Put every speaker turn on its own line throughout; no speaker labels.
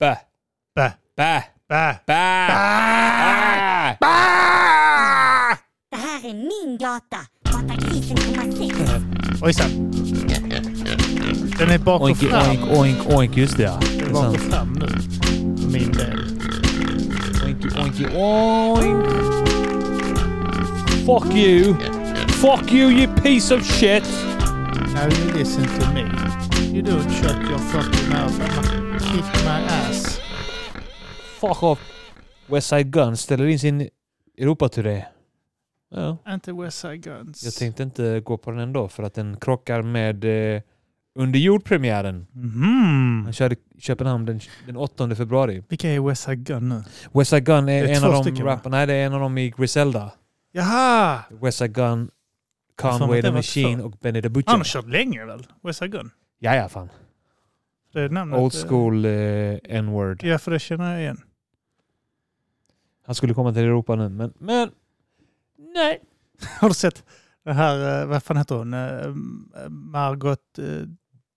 Bä.
Bä.
Bä.
Bä.
Bä. Bä.
Det här är min gata. Matagrisen 0,6.
Ojsan. Den är bak och
Oink,
fram.
oink, oink, oink. Just det ja. Det är
Bak och
sant.
fram nu. För min del.
Oink, oink, oink. Fuck you. Fuck you you piece of shit.
Now you listen to me. You don't shut your fucking mouth. I'ma kick my ass.
Fuck off. Westside Gun ställer in sin Europaturné. Ja.
Inte West Side Guns.
Jag tänkte inte gå på den ändå för att den krockar med eh, Underjord-premiären.
Mhm.
Han körde i Köpenhamn den, den 8 februari.
Vilka är West Side Gun nu?
Westside Gun är,
Det är
en
två
av de
stycken, va?
rapparna. Nej, det är en av dem i Griselda.
Jaha!
Westside Gun,
har för mig
Conway
att
the
det var Ah,
Machine
två.
och Benny the
Han har
Butcher.
kört länge väl? West Side Gun?
Ja, ja, fan.
Det är namnet.
Old
eh,
school eh, n-word.
Ja, för det känner jag igen.
Han skulle komma till Europa nu, men... men nej.
Har du sett det här, eh, vad fan heter hon? Eh, Margot eh,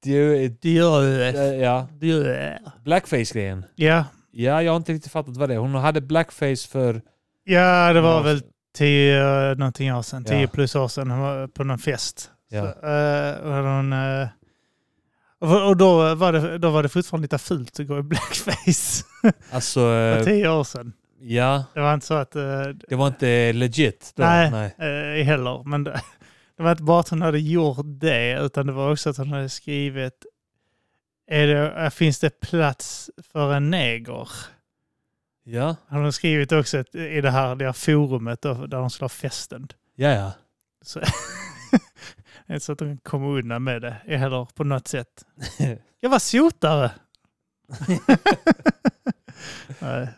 Du, eh, eh,
Dieu.
ja.
Dieu.
Blackface-grejen.
Ja.
Ja, jag har inte riktigt fattat vad det är. Hon hade blackface för...
ja, det var väl tio, eh, någonting år sedan.
Ja.
Tio plus år sedan. Hon var på någon fest.
Ja.
Så, eh, och hon, eh, och- och då var, det, då var det fortfarande lite fult att gå i blackface.
Alltså,
För
eh,
tio år sedan.
ja.
Det var inte så att... eh,
Det var inte legit då.
Nej.
nej.
eh, heller. Men det, det var inte bara att hon hade gjort det, utan det var också att hon hade skrivit är det, eh, Finns det plats för en neger?
Ja,
Hon har skrivit också ett, i det här, det här forumet då, där de skulle ha festen.
ja, ja.
Så, det är inte så att hon kom undan med det heller på något sätt. Jag var sotare! Nej.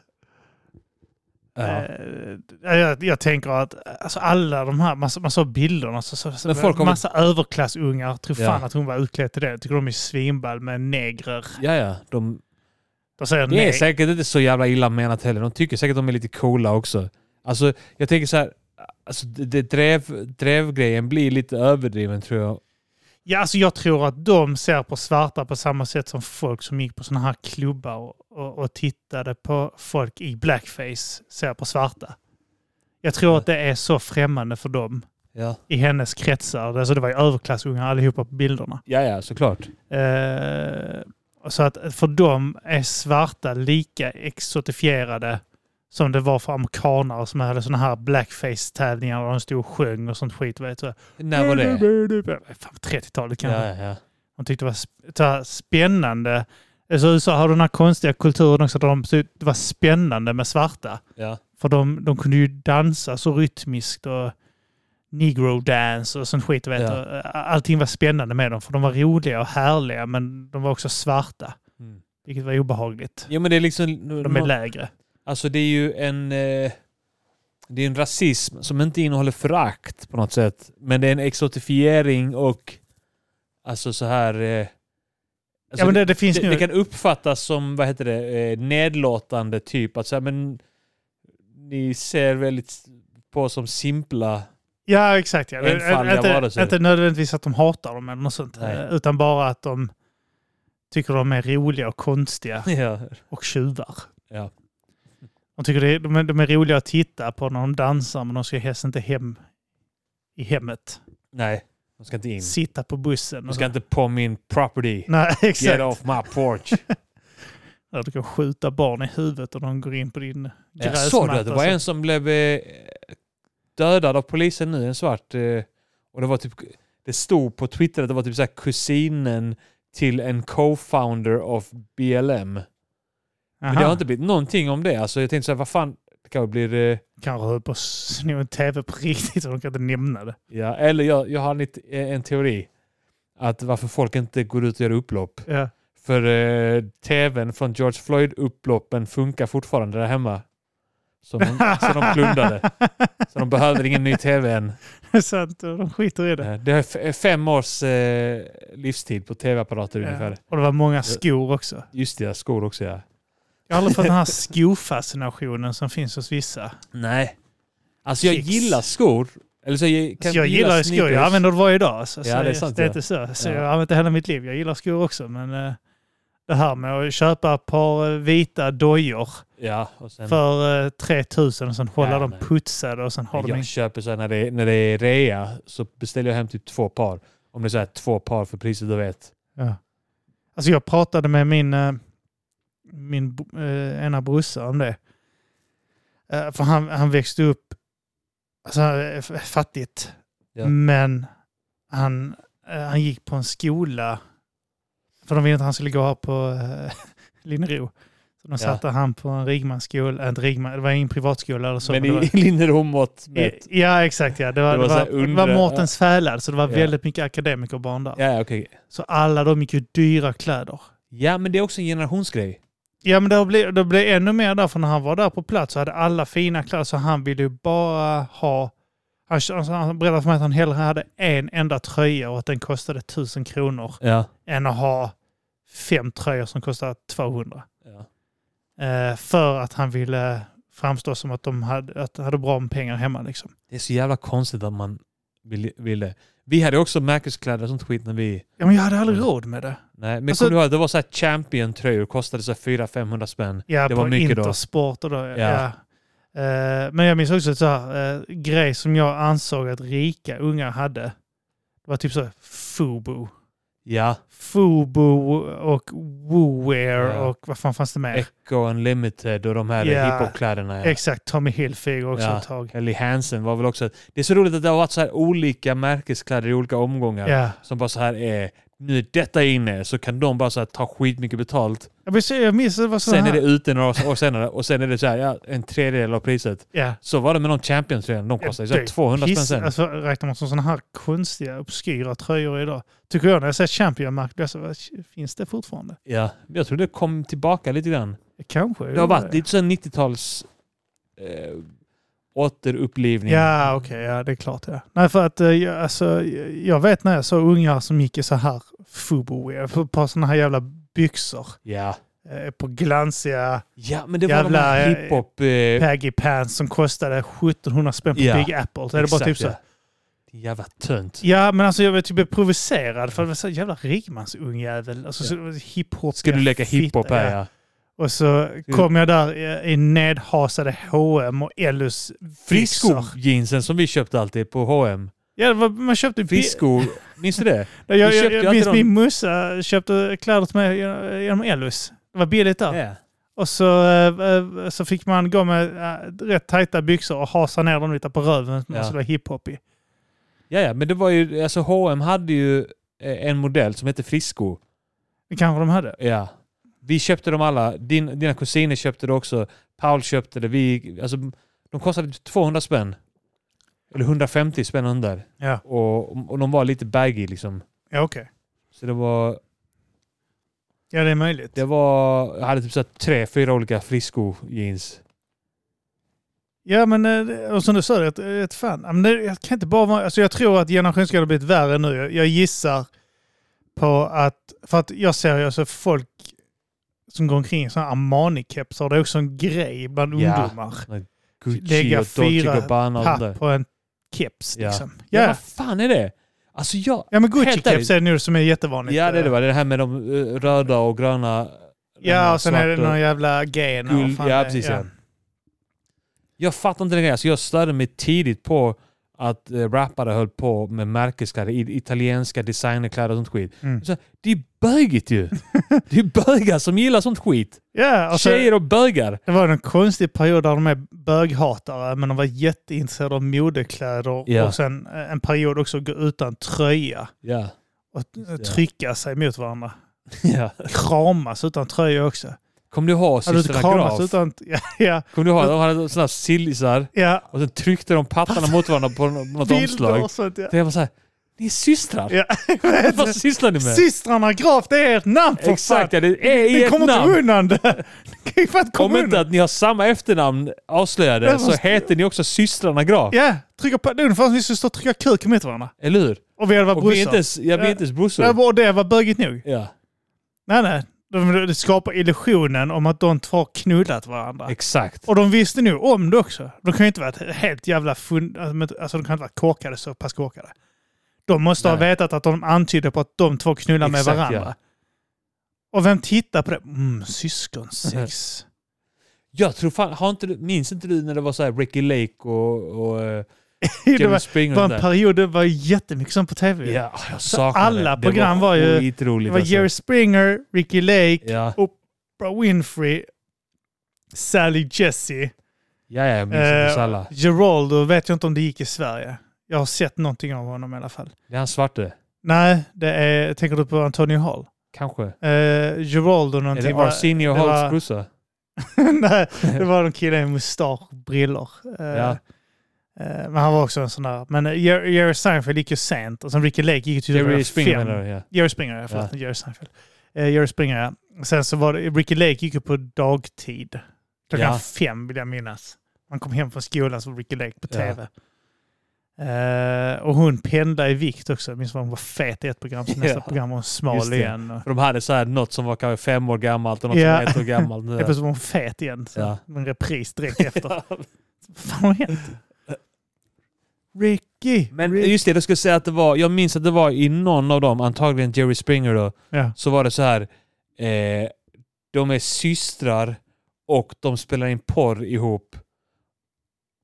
ja.
Eh, Jag, jag tänker att alltså alla de här, man, så- man såg bilderna, så, så, så
Men folk har
massa överklassungar tror
Ja.
fan att hon var utklädd till det. Jag tycker de är svinball med negrer.
ja, ja. De,
De säger
det är
neg-
säkert inte så jävla illa menat heller. De tycker säkert att de är lite coola också. Alltså, jag tänker så här. Alltså, det, det drev, drevgrejen blir lite överdriven tror jag.
ja, alltså jag tror att de ser på svarta på samma sätt som folk som gick på sådana här klubbar och, och, och tittade på folk i blackface ser på svarta. Jag tror att det är så främmande för dem
Ja,
i hennes kretsar. Alltså det var ju överklassungar allihopa på bilderna.
ja, ja såklart.
Eh, så att för dem är svarta lika exotifierade som det var för amerikanare som hade sådana här blackface-tävlingar där de stod och sjöng och sånt skit. Vet du.
När var det?
Fan, 30-talet kanske.
Ja, ja, ja.
De tyckte det var sp- så här spännande. Alltså i USA har du den här konstiga kulturen också där de tyckte det var spännande med svarta.
ja.
För de, de kunde ju dansa så rytmiskt och negro dance och sånt skit. Vet
Ja.
du. Allting var spännande med dem för de var roliga och härliga men de var också svarta.
Mm.
Vilket var obehagligt.
Ja, men det är liksom...
De är lägre.
Alltså det är ju en... Eh, det är en rasism som inte innehåller förakt på något sätt. Men det är en exotifiering och... Alltså så här... Eh, alltså
ja, men det, det finns
det,
nu.
det kan uppfattas som, vad heter det, eh, nedlåtande typ. Att så här, men ni ser väldigt på som simpla.
ja, exakt. Ja. Det-
enfaldiga
Inte,
varelser.
inte nödvändigtvis att de hatar dem eller något sånt.
Nej.
eh, Utan bara att de tycker de är roliga och konstiga
Ja.
och tjuvar.
Ja.
De tycker det är, de, är, de är roliga att titta på när de dansar men de ska helst inte hem i hemmet.
Nej, de ska inte in.
Sitta på bussen.
De
och
ska
så.
inte på min property.
Nej,
Get
Mm, exakt.
off my porch.
Där du kan skjuta barn i huvudet och de går in på din
Jag
gräsmatta.
såg det, det var
så-
en som blev eh, dödad av polisen nu, en svart. Eh, och det var typ, det stod på Twitter att det var typ så här kusinen till en co-founder of BLM. Men det
Aha.
har inte blivit någonting om det. Alltså jag tänkte så här, vad fan, det kanske blir... Eh,
Kanske höll på att sno en tv på riktigt och de kan inte nämna det.
Ja, eller jag, jag har en, lit- en teori. Att varför folk inte går ut och gör upplopp.
Ja.
För eh, tvn från George Floyd-upploppen funkar fortfarande där hemma. Som de, som de plundrade. Så de behöver ingen ny tv än.
Det är sant, och de skiter i det.
Eh, Det är f- fem års eh, livstid på tv-apparater
Ja.
ungefär.
Och det var många skor också.
Just det, skor också ja.
Jag har aldrig fått den här skofascinationen som finns hos vissa.
Nej. Alltså jag
Chicks.
gillar skor. Eller så jag, kan
Så Alltså, jag gillar ju skor, jag
sneakers.
använder det varje dag. alltså. Så,
Ja,
så
det är sant,
det är
ja.
inte så. så
Ja.
Jag har använt det hela mitt liv. Jag gillar skor också, men eh, det här med att köpa ett par eh, vita dojor
Ja, och sen,
för eh, 3000 och sen hålla
Ja,
dem
men-
putsade och sen har de
jag
en...
köper så här, när det, är- när det är rea så beställer jag hem typ två par. Om det är så här två par för priset du vet.
Ja. Alltså jag pratade med min, eh, min bo- eh, ena brorsa om det. Eh, För han, han växte upp alltså, eh, f- fattigt.
Ja.
Men han, eh, han gick på en skola. För de ville inte att han skulle gå här på eh, Linnero. Så de satte han på en rigmansskola. Äh, inte rigman, det var ingen privatskola eller så.
Men
det var,
i, i Linnerom åt
i,
med.
ja, exakt. Ja. Det var,
Det
det
var
var,
så här
det var,
undre-
Mårtens Fälad, så det var
Ja.
väldigt mycket akademikerbarn där.
Ja, okej.
Så alla de gick ju dyra kläder.
Ja, men det är också en generationsgrej.
Ja men det blev, det blev ännu mer där, för när han var där på plats så hade alla fina kläder så han ville ju bara ha... Han, alltså, han berättade för mig att han hellre hade en enda tröja och att den kostade tusen kronor
Ja.
än att ha fem tröjor som kostade 200.
ja.
Eh, för att han ville framstå som att de hade, att de hade bra med pengar hemma liksom.
Det är så jävla konstigt att man vill, vill det. Vi hade också märkeskläder och sånt skit när vi...
Ja men jag hade aldrig råd med det.
Nej, men
Alltså-
kommer du ihåg? Det var så här champion-tröjor, kostade så 400-500 spänn.
Ja,
Det
på
var mycket då.
Intersport och då. Ja.
Ja.
Eh, men jag minns också ett så här, eh, grej som jag ansåg att rika unga hade. Det var typ så här Fubo.
Ja,
Fubo och Woowear
Ja.
och vad fan fanns det mer?
Echo Unlimited och de här
Ja.
hiphopkläderna. Ja.
Exakt, Tommy Hilfiger också
Ja.
ett tag.
Eller Hansen var väl också... Det är så roligt att det har varit så här olika märkeskläder i olika omgångar.
Ja.
Som bara så här är... Nu är detta inne, så kan de bara så här ta skitmycket betalt.
Jag minns- Jag minns det var så
Sen
här.
är det ute några år senare och sen är det så här, ja, en tredjedel av priset.
ja.
Så var det med de Champions-tröjorna. De kostade ju så här
Det
200 spänn
piss-
sen.
Alltså, räknar man som sådana här konstiga, obskyra tröjor idag? Tycker jag när jag ser Champion-märkt, blir jag så, "Vad, finns det fortfarande?
Ja, jag tror det kom tillbaka lite grann.
Kanske.
Det har varit lite sån 90-tals eh, återupplivning.
Ja, okej. ja, det är klart. Ja. Nej, för att eh, jag, alltså, jag vet när jag såg ungar som gick i så här fubu, på, på såna här jävla byxor.
ja.
eh, På glansiga
Ja, men det var de
Jävla,
här
eh,
hiphop... Eh,
baggy pants som kostade 1700 spänn på
Ja,
Big Apple. Så är det bara
exakt,
typ så.
ja. Din jävla tönt.
Ja, men alltså jag blev typ provocerad för det var så här jävla rikmansungjävel. Alltså,
Ja.
så- hiphop.
Ska du leka
fitta,
hiphop här ja.
Och så kom jag där eh, i, i nedhasade H&M och Ellus byxor.
Friskor-jeansen som vi köpte alltid på H&M.
Ja, det var, man köpte bi-
Friskor, minns du det?
Jag, jag,
köpte
jag,
ju alltid
minns
dem.
min morsa köpte kläder till mig genom- genom Ellus. Det var billigt där.
Ja.
Och så, eh, eh, så fick man gå med eh, rätt tajta byxor och hasa ner dem lite på röven.
Ja.
Man skulle vara hiphop i.
ja, ja, men det var ju... Alltså H&M hade ju eh, en modell som hette Friskor.
Det kanske de hade.
Ja. Vi köpte dem alla. Din, dina kusiner köpte det också. Paul köpte det. Vi, alltså, de kostade 200 spänn. Eller 150 spänn under.
Ja,
Och, och de var lite baggy liksom.
ja okej.
Så det var...
Ja, det är möjligt.
Det var jag hade typ så här tre, fyra olika frisko jeans.
Ja, men eh, och som du sa, ett, ett fan. Ja, Men det, jag kan inte bara vara... Alltså jag tror att generationsskillnaden har blivit värre nu. Jag, jag gissar på att... För att jag ser ju alltså folk som går omkring i sådana Armani-kepsar. Det är också en grej bland
Ja.
ungdomar.
Gucci
Lägga
och Dolce
fyra
Gabbana. och sånt där.
papp på en keps
Ja.
liksom.
Ja,
Ja,
vad fan är det? Alltså jag...
ja men
Helt
Gucci-keps
ärligt.
är det nu som är jättevanligt.
Ja, det är det va? Det här med de eh, röda och gröna...
Ja, och sen är det
svarta-
någon jävla gain. och
Guld,
fan
ja,
det-
precis. Ja. Jag fattar inte den grejen. Alltså, jag störde mig tidigt på att eh, rappare höll på med märkeskläder, i- italienska designerkläder och sånt skit.
Mm.
Så, det är bögigt ju! det är bögar som gillar sånt skit.
Ja, och så,
Tjejer och bögar!
det var en konstig period där de är böghatare, men de var jätteintresserade av modekläder.
Ja.
Och sen eh, en period också gå utan tröja
Ja.
och
Just det.
trycka sig mot varandra.
ja.
Kramas utan tröja också.
Kommer du ihåg
Hade du inte
systrarna
kramas
Graf?
utan... Ja, ja,
Kommer du ihåg? De hade såna här sillisar
ja.
och sen tryckte de pattarna mot varandra på nå- något
Bilder
omslag.
och sånt. Ja.
Det var så här, ni är systrar!
Ja,
Vad sysslar ni med?
Systrarna Graf, det är ert namn för fan!
Exakt, ja, det är i
Ni
ett
kommer
namn!
inte undan det! Ni kan ju fan inte
Om
komma
inte
undan!
att ni har samma efternamn
Det
avslöjade
var
så
st-
heter ni också systrarna Graf.
Ja, trycka på... Det är ungefär som vi skulle stå och trycka kuk mot varandra.
Eller hur?
Och vi hade varit
Och vi är inte
brorsor.
ens, ja, vi är inte ens brorsor.
Ja, Och det var bögigt nog.
Ja,
Nej, nej. De- Det skapar illusionen om att de två har knullat varandra.
exakt.
Och de visste nog om det också. De kan ju inte vara helt jävla fund... Alltså de kan inte vara korkade så pass korkade. De måste ha
Nej.
vetat att de antydde på att de två knullar med
Exakt,
varandra. Och vem tittar på det? Mm, syskonsex.
Jag tror fan, har inte, du- minns inte du när det var så här Ricky Lake och, och eh,
det
Jerry
var,
Springer? och
var
sånt
en
där?
period det var jättemycket sånt på tv.
Ja, jag saknar
alla
det.
program
det
var ju- Det
skitroligt
var Jerry Springer, Ricky Lake,
Alltså. Ja,
Oprah Winfrey, Sally Jesse.
ja, ja, jag minns inte
Eh,
oss alla.
Geraldo vet jag inte om det gick i Sverige. Jag har sett någonting av honom i alla fall.
Det är han svarte,
Nej, det är, tänker du på Antonio Hall?
kanske.
Uh, Geraldo
Är
någonting.
det
var-
Arsenio
det var- eh,
Halls brorsa?
Nej, det var en kille med mustasch och brillor. Eh,
Ja.
eh, men han var också en sån där. Men eh, Jer- Jerry Seinfeld gick ju sent. Och sen Ricky Lake gick ju till
Jerry Springer
fem.
menar du? Ja.
Jerry Springer, ja. Förlåt, Jerry Seinfeld. Eh, Jerry Springer, ja. Sen så var det, Ricky Lake gick ju på dagtid. Klockan
Ja.
fem vill jag minnas. Man kom hem från skolan så var Ricky Lake på
Ja.
tv. Eh, och hon pendlade i vikt också. Jag minns vad hon var fet i ett program. Så nästa
Ja.
program var hon smal
Just det.
igen. Och,
För de hade så här något som var kanske fem år gammalt och något
Ja.
som var ett år gammalt. nu.
Helt plötsligt var hon fet igen. Så
Ja.
En repris direkt efter. Vad fan har hänt? Ricky!
Men
Rick-
just det, jag skulle säga att det var, jag minns att det var i någon av dem, antagligen Jerry Springer då,
Ja.
så var det så här, eh, de är systrar och de spelar in porr ihop.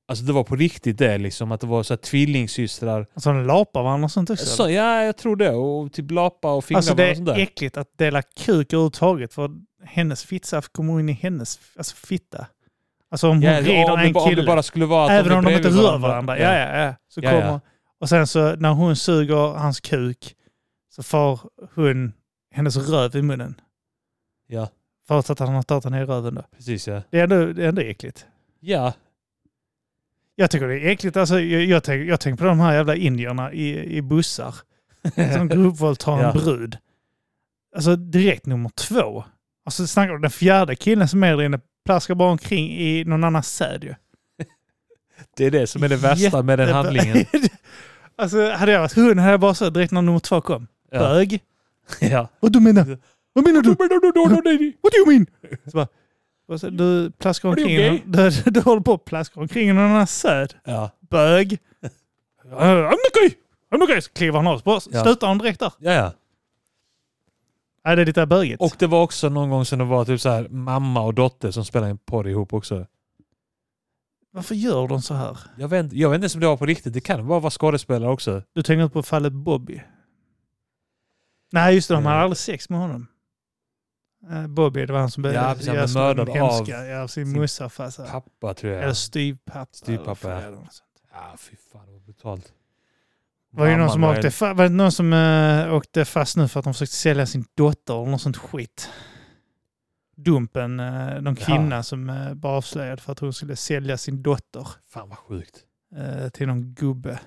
Alltså det var på riktigt det liksom, att det var så här tvillingsystrar.
Alltså de lapar varandra och sånt också.
Så, ja, jag tror det. Och typ lapa och fingrar
alltså det
varandra och sånt
är
där.
äckligt att dela kuk överhuvudtaget för hennes fitta kommer in i hennes alltså fitta. Alltså om hon
Ja,
rider
om, det,
en
ba- om
kille,
det bara skulle vara att
även
är
om de inte
bredvid
rör varandra. Ja, ja, ja. Så
Ja, ja.
kommer, Och sen så när hon suger hans kuk så får hon hennes röv i munnen.
Ja,
Förutsatt att han har tagit den i röven då.
precis ja.
Det är ändå, det är ändå äckligt.
Ja,
Jag tycker det är äckligt. Alltså, jag, jag, tänker, jag tänker på de här jävla indierna i, i bussar som gruppvåldtar en
Ja.
brud. Alltså direkt nummer två. Alltså snackar du den fjärde killen som är där inne plaskar bara omkring i någon annans säd ju.
det är det som är det värsta med den handlingen.
alltså hade jag varit hund hade jag bara så direkt när nummer två kom.
Ja.
Bög.
Ja.
Vad du menar? Vad menar du? What do you mean? Så bara, och så, du plaskar
Are you
omkring, i någon- du, du håller på att plaska omkring i någon annans säd.
Ja.
bög. "Eh, I'm not gay! I'm not gay! Så kliver han av. Bara
Ja.
Slutar han direkt där?
Ja, ja.
Nej, det är lite bögigt.
Och det var också någon gång som det var typ så här mamma och dotter som spelade en porr ihop också.
Varför gör de så här?
Jag vet, inte- jag vet inte ens om det var på riktigt. Det kan bara vara skådespelare också.
Du tänker inte på fallet Bobby? Nej, just det. De hade
Eh.
aldrig sex med honom. Eh, Bobby, det var han som
Ja,
började
precis, han
göra
blev
sådana
mördad
hemska- Ja, av sin
sin
morsa och farsa.
Pappa tror jag.
Eller styvpappa.
Styvpappa,
eller
ja.
något sånt.
Ja, fy fan det var brutalt.
Var det någon
Mamman
som
var
åkte, fa- var det någon som, eh, åkte fast nu för att de försökte sälja sin dotter eller något sånt skit? Dumpen, eh, någon
Ja.
kvinna som eh, bara avslöjade för att hon skulle sälja sin dotter
Fan vad sjukt.
eh, till någon gubbe.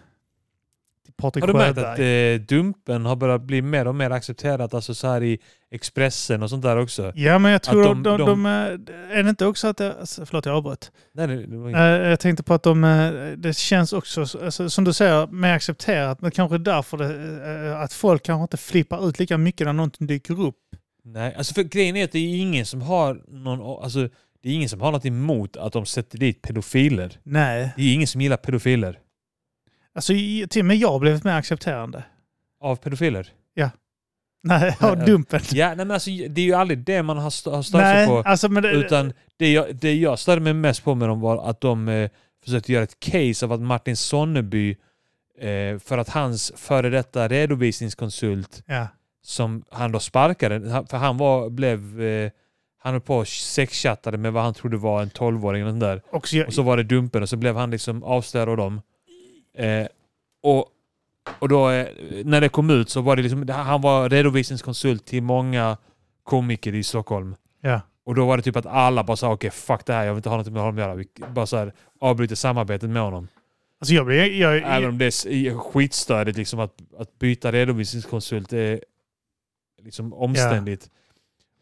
Till Patrik
Har du märkt
Sjöberg.
att eh, Dumpen har börjat bli mer och mer accepterat, alltså så här i Expressen och sånt där också?
Ja, men jag tror de,
de-
de,
de-
eh, Är det inte också att... Det, alltså, förlåt, jag avbröt.
Nej, det, det var
Eh,
inget.
jag tänkte på att de, eh, det känns också, alltså, som du säger, mer accepterat. Men kanske därför det, eh, att folk kanske inte flippar ut lika mycket när någonting dyker upp.
Nej, alltså för grejen är att det är ingen som har någon, alltså det är ingen som har något emot att de sätter dit pedofiler.
Nej.
Det är ingen som gillar pedofiler.
Alltså i- till och med jag har blivit mer accepterande.
Av pedofiler.
Nej, av
Nej,
dumpen.
Ja, nej men alltså det är ju aldrig det man har, stö- har stört sig
Nej,
på.
alltså men det,
Utan det jag, det jag störde mig mest på med dem var att de eh, försökte göra ett case av att Martin Sonneby, eh, för att hans före detta redovisningskonsult
ja.
som han då sparkade, han- för han var, blev, eh, han höll på och sexchattade med vad han trodde var en 12-åring eller sånt där.
Och så, jag,
Och så var det Dumpen och så blev han liksom avslöjad av dem. Eh, och, och då, eh, när det kom ut så var det liksom, han var redovisningskonsult till många komiker i Stockholm.
ja.
Och då var det typ att alla bara sa okej fuck det här, jag vill inte ha något med honom att göra. Vi bara så här, avbryter samarbetet med honom.
Alltså jag blev... Jag, jag,
Även om det är s- i- skitstödigt liksom att, att byta redovisningskonsult är liksom omständigt.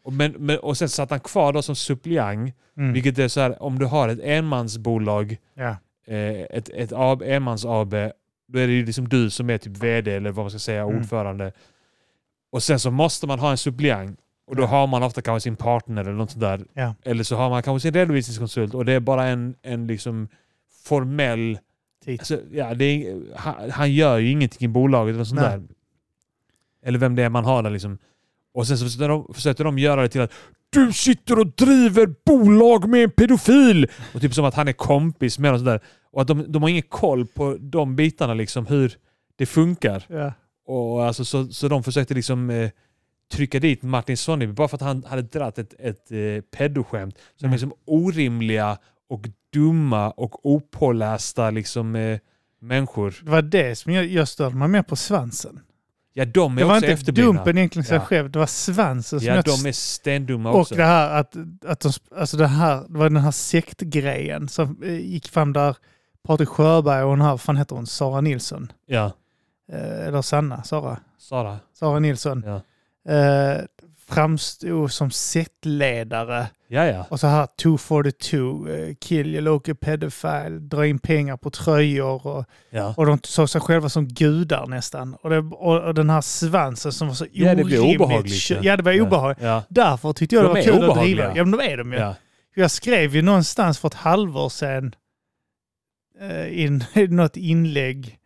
Och, men, men, och sen satt han kvar då som suppleant,
mm,
vilket är så här om du har ett enmansbolag,
ja.
eh, ett, ett AB, enmans AB, då är det ju liksom du som är typ vd eller vad man ska säga,
Mm.
ordförande. Och sen så måste man ha en suppleant. Och då
Ja.
har man ofta kanske sin partner eller något sånt där.
Ja.
Eller så har man kanske sin redovisningskonsult och det är bara en, en liksom formell...
Titel.
Alltså, ja, det är, han, han gör ju ingenting i bolaget eller sånt
Nej.
där. Eller vem det är man har där liksom. Och sen så försökte de, försökte de göra det till att du sitter och driver bolag med en pedofil! Och typ som att han är kompis med och sådär. Och att de, de har ingen koll på de bitarna liksom, hur det funkar.
Ja.
Och alltså, så, så de försökte liksom eh, trycka dit Martin Sonneby bara för att han hade dratt ett, ett eh, pedoskämt. Så de
Mm.
liksom orimliga och dumma och opålästa liksom, eh, människor.
Det var det som jag, jag störde mig mer på svansen.
Ja, de är
Det var
också
inte
efterblivna.
dumpen egentligen sig
Ja.
själv, det var svansen som
Ja,
jag
de är stendumma
Och
också.
det här att, att de, alltså det här, det var den här sektgrejen som eh, gick fram där Patrik Sjöberg och hon här, vad fan heter hon, Sara Nilsson?
Ja,
Eh, eller Sanna, Sara?
Sara.
Sara Nilsson.
Ja.
Eh, framstod som sektledare
Ja, ja.
och så här 242, eh, kill your local pedophile, dra in pengar på tröjor och,
ja.
och de såg sig själva som gudar nästan. Och, det, och, och den här svansen som var så
Ja, det blir
orimligt
obehagligt,
kö-
ja.
Ja, det var obehagligt.
Ja.
Därför tyckte jag
De
det var
är
kul att
obehagliga.
driva. Ja, men de är de ju.
Ja.
Jag skrev ju någonstans för ett halvår sedan eh, in, något inlägg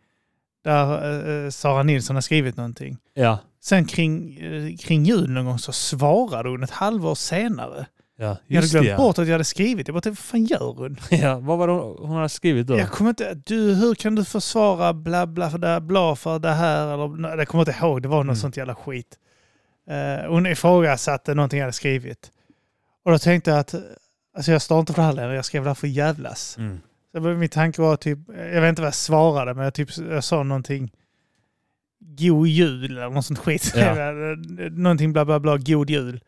där eh, Sara Nilsson har skrivit någonting.
Ja.
Sen kring, eh, kring jul någon gång så svarade hon ett halvår senare.
ja.
Jag hade
Just det,
glömt
ja.
bort att jag hade skrivit. Jag bara, vad fan gör hon?
ja. Vad var det hon hon hade skrivit då?
Jag kommer inte, du, hur kan du försvara bla bla för det, bla för det här? Eller, nej, jag kommer inte ihåg, det var något
Mm.
sånt jävla skit. Uh, hon ifrågasatte någonting jag hade skrivit. Och då tänkte jag att, alltså jag står inte för det här längre, jag skrev det här för att jävlas.
Mm.
Så det var- min tanke var typ, jag vet inte vad jag svarade, men jag, typ, jag sa någonting god jul eller något sånt skit.
Ja.
Eller någonting bla bla bla, god jul.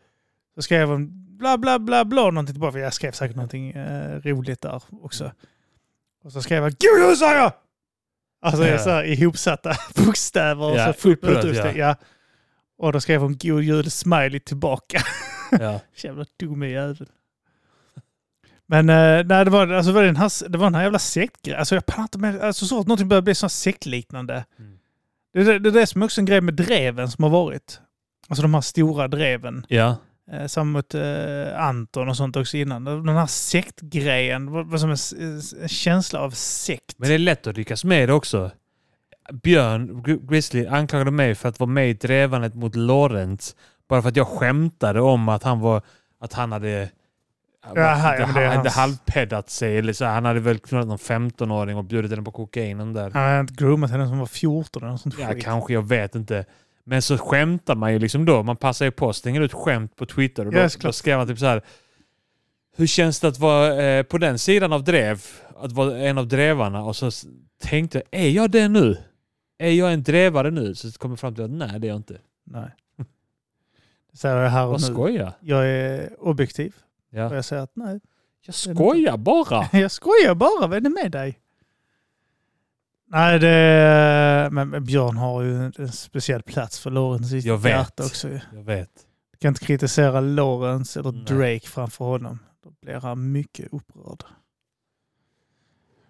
Så skrev hon bla bla bla bla någonting tillbaka, för jag skrev säkert någonting eh, roligt där också. Och så skrev jag god jul sa jag! Alltså
Ja.
jag så här, ihopsatta bokstäver och
Ja,
så fullt på
upprörd,
utropstecken. Ja. Och då skrev hon god jul smiley tillbaka.
Ja.
Jävla dumme jävel. Men eh, nej, det, var, alltså, det, var den här, det var den här jävla sektgrejen. Alltså, jag pallar inte med, alltså, så fort någonting börjar bli sån här sektliknande.
Mm.
Det, är det, det är det som också är en grej med dreven som har varit. Alltså de här stora dreven.
Ja.
Eh, samma mot eh, Anton och sånt också innan. Den här sektgrejen var, var som en, s- s- en känsla av sekt.
Men det är lätt att ryckas med också. Björn Gri- Grizzly anklagade mig för att vara med i drevandet mot Lorentz bara för att jag skämtade om att han var att han hade
Jaha, ja, men det är
han hade
hans-
halvpeddat sig. Eller så här, han hade väl knullat någon 15-åring och bjudit henne på kokainen där.
Han hade inte groomat henne som var 14 eller något sånt
Ja,
skit.
kanske. Jag vet inte. Men så skämtar man ju liksom då. Man passar ju på och slänger ut skämt på Twitter. Och då,
Ja, såklart.
då skrev man typ så här. Hur känns det att vara eh, på den sidan av drev? Att vara en av drevarna? Och så s- tänkte jag, är jag det nu? Är jag en drevare nu? Så kom jag fram till att nej, det är jag inte.
Nej. Det säger jag här och
Vad
nu.
skoja.
Jag är objektiv.
Ja.
Och jag säger att nej,
Jag skojar bara.
Jag skojar bara, vad är det med dig? Nej, det... Men Björn har ju en en speciell plats för Lorentz i sitt
Jag vet.
hjärta också. ju.
Jag vet.
Du kan inte kritisera Lorentz eller
Nej.
Drake framför honom. Då blir han mycket upprörd.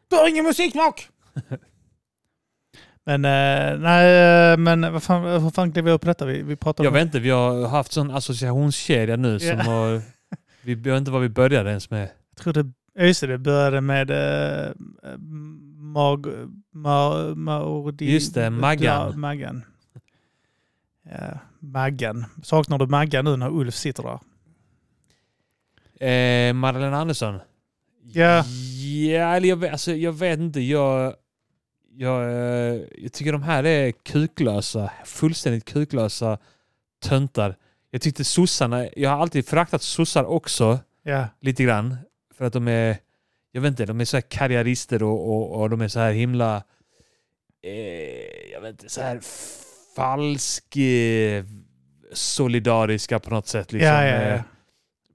Du har ingen musiksmak! men eh, nej, men vad fan, hur fan klev vi upp på detta? Vi, vi pratade
Jag
om...
vet inte, vi har haft sån associationskedja nu som
Ja.
har... Vi jag vet inte vad vi började ens med.
Jag tror det, ja, just det, det började med eh, mag, ma, maordi,
Just det, Maggan.
Ja, maggan. Ja, maggan. Saknar du Maggan nu när Ulf sitter där?
Eh, Madeleine Andersson?
Ja.
Ja, eller jag, vet- alltså, jag vet inte. Jag, jag, eh, jag tycker de här är kuklösa. Fullständigt kuklösa töntar. Jag tyckte sossarna... Jag har alltid föraktat sossar också.
Ja,
Lite grann. För att de är... Jag vet inte, de är så här karriärister och, och, och de är så här himla... Eh, jag vet inte, så här falsk... Eh, solidariska på något sätt. Liksom.
ja, ja,
Eh,
ja.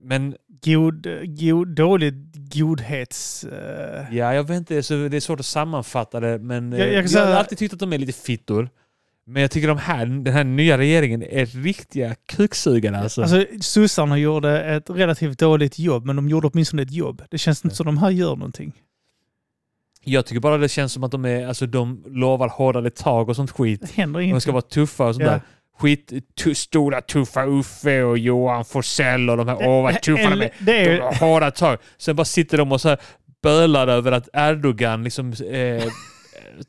Men
God, god, dålig godhets... eh,
Ja, jag vet inte. Så det är svårt att sammanfatta det. Men
Jag- jag
jag,
kan
jag,
säga-
har alltid tyckt att de är lite fittor. Men jag tycker de här, den här nya regeringen är riktiga kuksugare alltså.
Alltså, sossarna gjorde ett relativt dåligt jobb, men de gjorde åtminstone ett jobb. Det känns inte som de här gör någonting.
Jag tycker bara det känns som att de, är, alltså, de lovar hårdare tag och sånt skit.
Det händer
De
ingenting.
ska vara tuffa och sånt
Ja.
där. Skit, tu, stora tuffa Uffe och Johan Forsell och de här. Åh vad tuffa de är.
Eller- det är.
De har Hårda tag. Sen bara sitter de och så här bölar över att Erdogan liksom eh,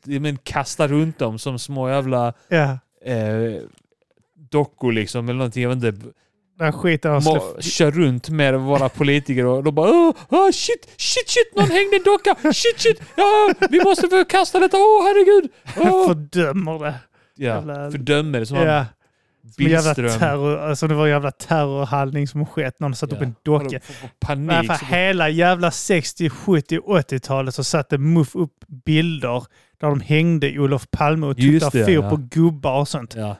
men kastar runt dem som små jävla
Ja,
eh, dockor liksom eller någonting. Jag vet inte.
Den här skiten har
Må,
släppt...
kör runt med våra politiker och de bara åh, åh, shit, shit, shit, någon hängde en docka, shit, shit, ja, vi måste förkasta detta, åh herregud. Åh.
Fördömer det.
Ja,
jävla-
fördömer det som
Ja.
han
Som en jävla
Billström.
terror, alltså det var en jävla terrorhandling som skett. Någon satte upp en docka.
Håller på att få
Men
Panik.
för
så bara,
hela jävla 60, 70, 80-talet så satte MUF upp bilder där de hängde Olof Palme och
Just
tuttade
det,
fyr
ja.
på gubbar och sånt.
Ja.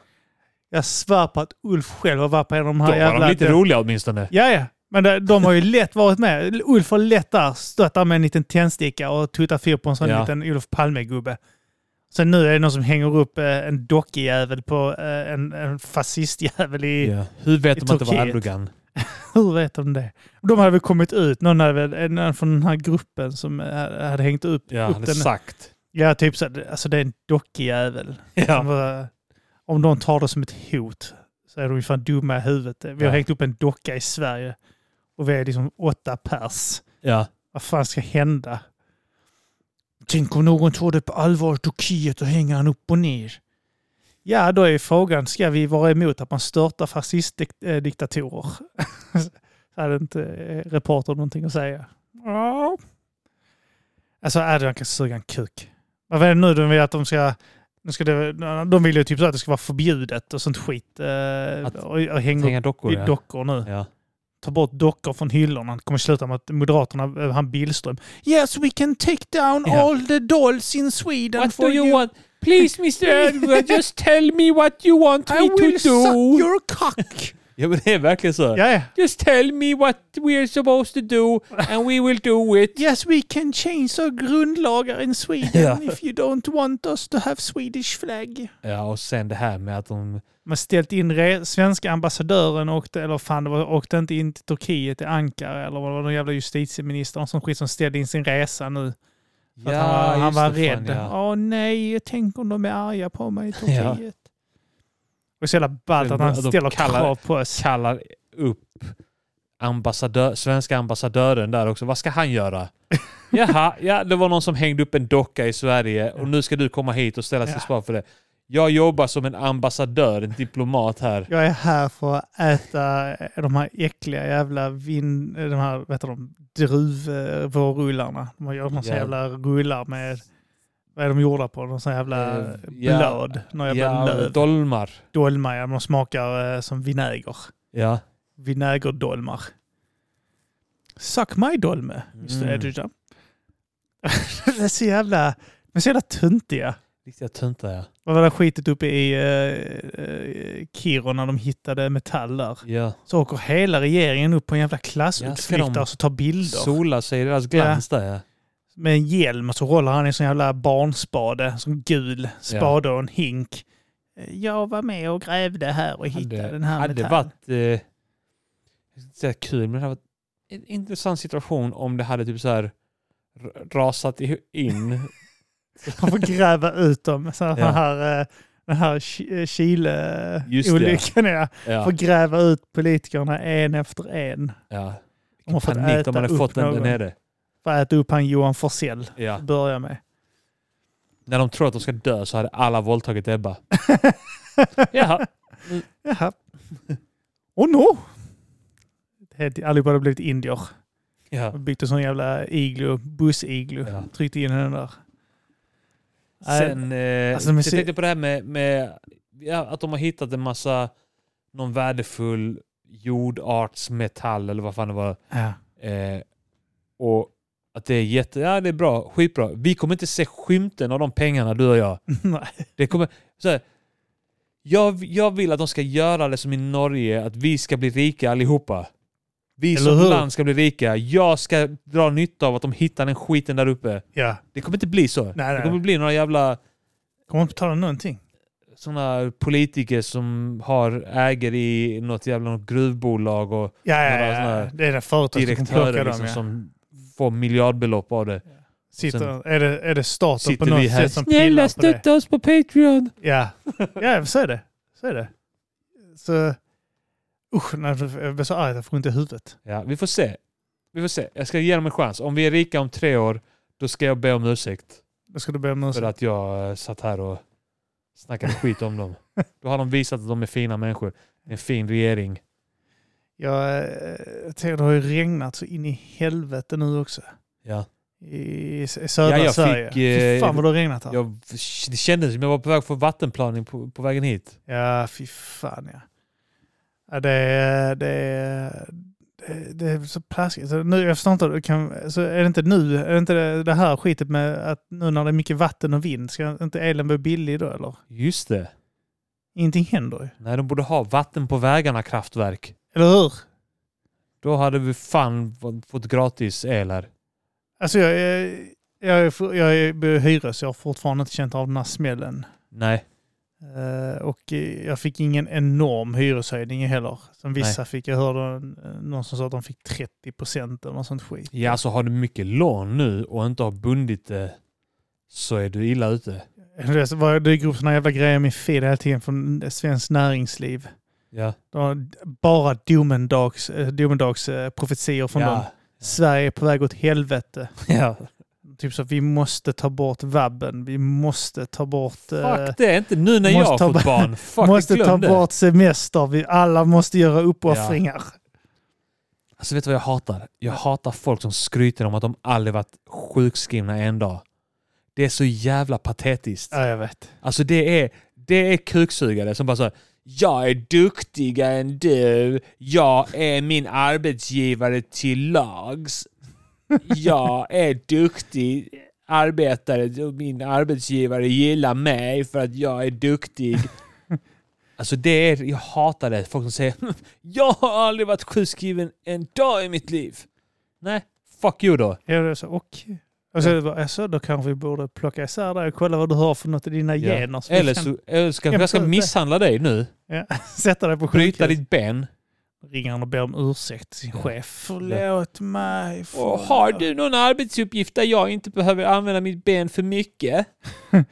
Jag svär på att Ulf själv har varit på en av de
Då
här
var
jävla...
de lite roliga åtminstone.
Ja, ja. Men de, de har ju lätt varit med. Ulf har lätt där, stått där med en liten tändsticka och tuttat fyr på en sån
Ja.
liten Olof Palme-gubbe. Sen nu är det någon som hänger upp eh, en dockjävel på eh, en, en fascistjävel i...
Ja. Hur vet
I
de att det var
Turkiet.
Erdogan?
Hur vet de det? De hade väl kommit ut, någon, hade väl, någon från den här gruppen som eh, hade hängt upp,
Ja,
upp
han är
den.
sagt.
Ja, typ så här, alltså det är en dockjävel. Han
Ja.
var- Om de tar det som ett hot så är de ju fan dumma i huvudet. Vi har
Ja.
hängt upp en docka i Sverige och vi är liksom åtta pers.
Ja.
Vad fan ska hända? Tänk om någon tar det på allvar i Turkiet och hänger han upp och ner. Ja, då är frågan, ska vi vara emot att man störtar fascistdiktatorer? Så hade inte eh, reportern någonting att säga. Ja. Alltså Erdogan kan suga en kuk. Vad var det nu de vill att de ska... Nu ska det, de vill ju typ så att det ska vara förbjudet och sånt skit. eh,
Att
och, och hänga
Tänga
upp
dockor.
i
ja.
dockor nu
Ja.
ta bort dockor från hyllorna. Det kommer sluta med att Moderaterna, eh, han Billström, Yes we can take down
Ja.
all the dolls in Sweden
What
for
do you want? Please Mr Erdogan, just tell me what you want me
I will
to do.
suck your cock!
Ja men det är verkligen så.
ja, ja.
Just tell me what we're supposed to do and we will do it.
Yes we can change our grundlagar in Sweden
Ja.
if you don't want us to have Swedish flag.
Ja och sen det här med att de...
Man ställt in re- svenska ambassadören åkte, eller fan, det var, åkte inte in till Turkiet, till Ankara eller vad det var någon jävla justitieminister och sån skit som ställde in sin resa nu. För att han var, han
just
var
det,
rädd.
Fan,
Åh
ja.
nej, tänk om de är arga på mig i Turkiet.
Ja.
Och så jävla ballt att
Att
han
de
ställer
kallar-
krav på oss.
Kallar upp ambassadör, svenska ambassadören där också. Vad ska han göra? Jaha, ja, det var någon som hängde upp en docka i Sverige och nu ska du komma hit och ställa till
Ja.
svar för det. Jag jobbar som en ambassadör, en diplomat här.
Jag är här för att äta eh, de här äckliga jävla vin... eh, De här, vet du, de, druvvårrullarna. De gör någon sån
Ja.
jävla rullar med... Vad är de gjorda på? Någon sån jävla
Eh, ja.
blöd. Någon jävla
Ja,
löv.
dolmar.
Dolmar, ja. De smakar eh, som vinäger.
Ja.
Vinägerdolmar. Suck my dolme, Mr
Mm.
Erdogan. det är så jävla... De är så jävla töntiga.
Riktiga töntar ja.
Vad var det skitet uppe i eh, eh, Kiruna de hittade metall där?
ja.
Så åker hela regeringen upp på en jävla
Ja,
klassutflykt
ska de
där och så tar bilder
Solar sig i deras glans där ja.
med en hjälm och så rollar han i en sån jävla barnspade, som gul spade och en hink. Jag var med och grävde här och hittade den här
hade
metallen.
varit eh, jag ska inte säga kul, men det hade varit en intressant situation om det hade typ så här r- rasat i- in.
Han får gräva ut dem. Så att
Ja.
den här, eh, den här Chi- eh,
Just det, ja.
Chile-olyckan. Ja.
ja,
Får gräva ut politikerna en efter en.
ja.
de har fått
Panik
äta
om man hade
upp
fått den där
någon.
nere.
För att äta upp han Johan Forsell.
Ja.
Börja med.
När de tror att de ska dö så hade alla våldtagit Ebba. Jaha.
Jaha. Oh no! Helt- Allihopa hade blivit indier.
Ja.
De Byggt en sån jävla iglo, buss-iglo.
Ja.
Tryckte in henne där. Nej,
Sen, eh,
Alltså, men
jag
se-
tänkte på det här med, med ja, att de har hittat en massa någon värdefull jordartsmetall eller vad fan det var.
Ja.
Eh, och att det är jätte, ja det är bra, skitbra. Vi kommer inte se skymten av de pengarna du och jag.
Nej.
Det kommer, så här, jag, jag vill att de ska göra det som i Norge, att vi ska bli rika allihopa. Vi
Eller
som
hur?
land ska bli rika. Jag ska dra nytta av att de hittar den skiten där uppe.
Ja.
Det kommer inte bli så.
nej.
det kommer bli några jävla
Kommer inte betala någonting.
sådana politiker som har äger i något jävla något gruvbolag och
Ja, ja,
Några såna
ja.
här
Det är det företag som kommer plocka
direktörer
dem.
liksom,
ja.
som får miljardbelopp av det.
Sitter, är, det, är det staten på
sitter vi
något
här.
sätt som pillar på det?
oss på Patreon!
Ja, ja så är det. Så är det. Så... Usch, nej, jag blir så arg att jag får ont i huvudet.
Ja, vi får se. Vi får se. Jag ska ge dem en chans. Om vi är rika om tre år, då ska jag be om ursäkt
Då ska du be om
för
ursäkt.
att jag eh, satt här och snackade skit om dem. Då har de visat att de är fina människor. En fin regering.
Jag eh, tänker, det har ju regnat så in i helvete nu också.
Ja.
I, i södra
Ja, jag
Sverige.
fick,
fy
eh,
fan vad det har regnat här.
Jag, det kändes som jag var på väg för vattenplaning på, på vägen hit.
Ja, fy fan ja. ja det, är- det, är- det, det är så plaskigt. Så nu, jag förstår inte, det kan, så är det inte nu, är det inte det, det här skitet med att nu när det är mycket vatten och vind, ska inte elen bli billig då eller?
Just det.
Ingenting händer ju.
Nej, de borde ha vatten på vägarna kraftverk.
Eller hur?
Då hade vi fan fått gratis el här.
Alltså jag, är- jag, är för- jag är hyra så jag har fortfarande inte känt av den här smällen.
Nej.
Eh, och eh, jag fick ingen enorm hyreshöjning heller. Som vissa fick. Jag hörde eh, någon som sa att de fick 30 procent eller något sånt skit.
Ja, så har du mycket lån nu och inte har bundit det så är du illa ute.
Eh, Det så var- det dyker upp såna jävla grejer i min feed hela tiden från eh, Svenskt Näringsliv.
Ja.
De har bara domedags, eh, domedags eh, profetior från dem.
ja.
Sverige är på väg åt helvete.
ja.
Typ så att vi måste ta bort vabben. Vi måste ta bort... eh,
Fuck det, inte nu när jag
måste
har
ta
fått
ba-
barn. Fuck,
måste ta
glöm det.
bort semester. Vi alla måste göra uppoffringar.
Alltså vet du vad jag hatar? Jag hatar folk som skryter om att de aldrig varit sjukskrivna en dag. Det är så jävla patetiskt.
Ja, jag vet.
Alltså det är, det är kuksugare som bara så här, jag är duktigare än du, jag är min arbetsgivare till lags. Jag är duktig arbetare, och min arbetsgivare gillar mig för att jag är duktig. Alltså det är, jag hatar det, folk som säger jag har aldrig varit sjukskriven en dag i mitt liv. Nej, fuck you då.
Ja, det är så. Och, och så, är det bara, alltså, då kanske vi borde plocka isär det och kolla vad du har för något i dina
Ja.
gener. så vi
Eller
kan
så, eller så kanske
Ja,
jag ska
precis.
misshandla dig nu,
Sätta dig på sjukhus.
bryta ditt ben.
ringer han och ber om ursäkt till sin
Ja.
chef. Förlåt mig.
Och
förlåt."
har du någon arbetsuppgift där jag inte behöver använda mitt ben för mycket?
Jag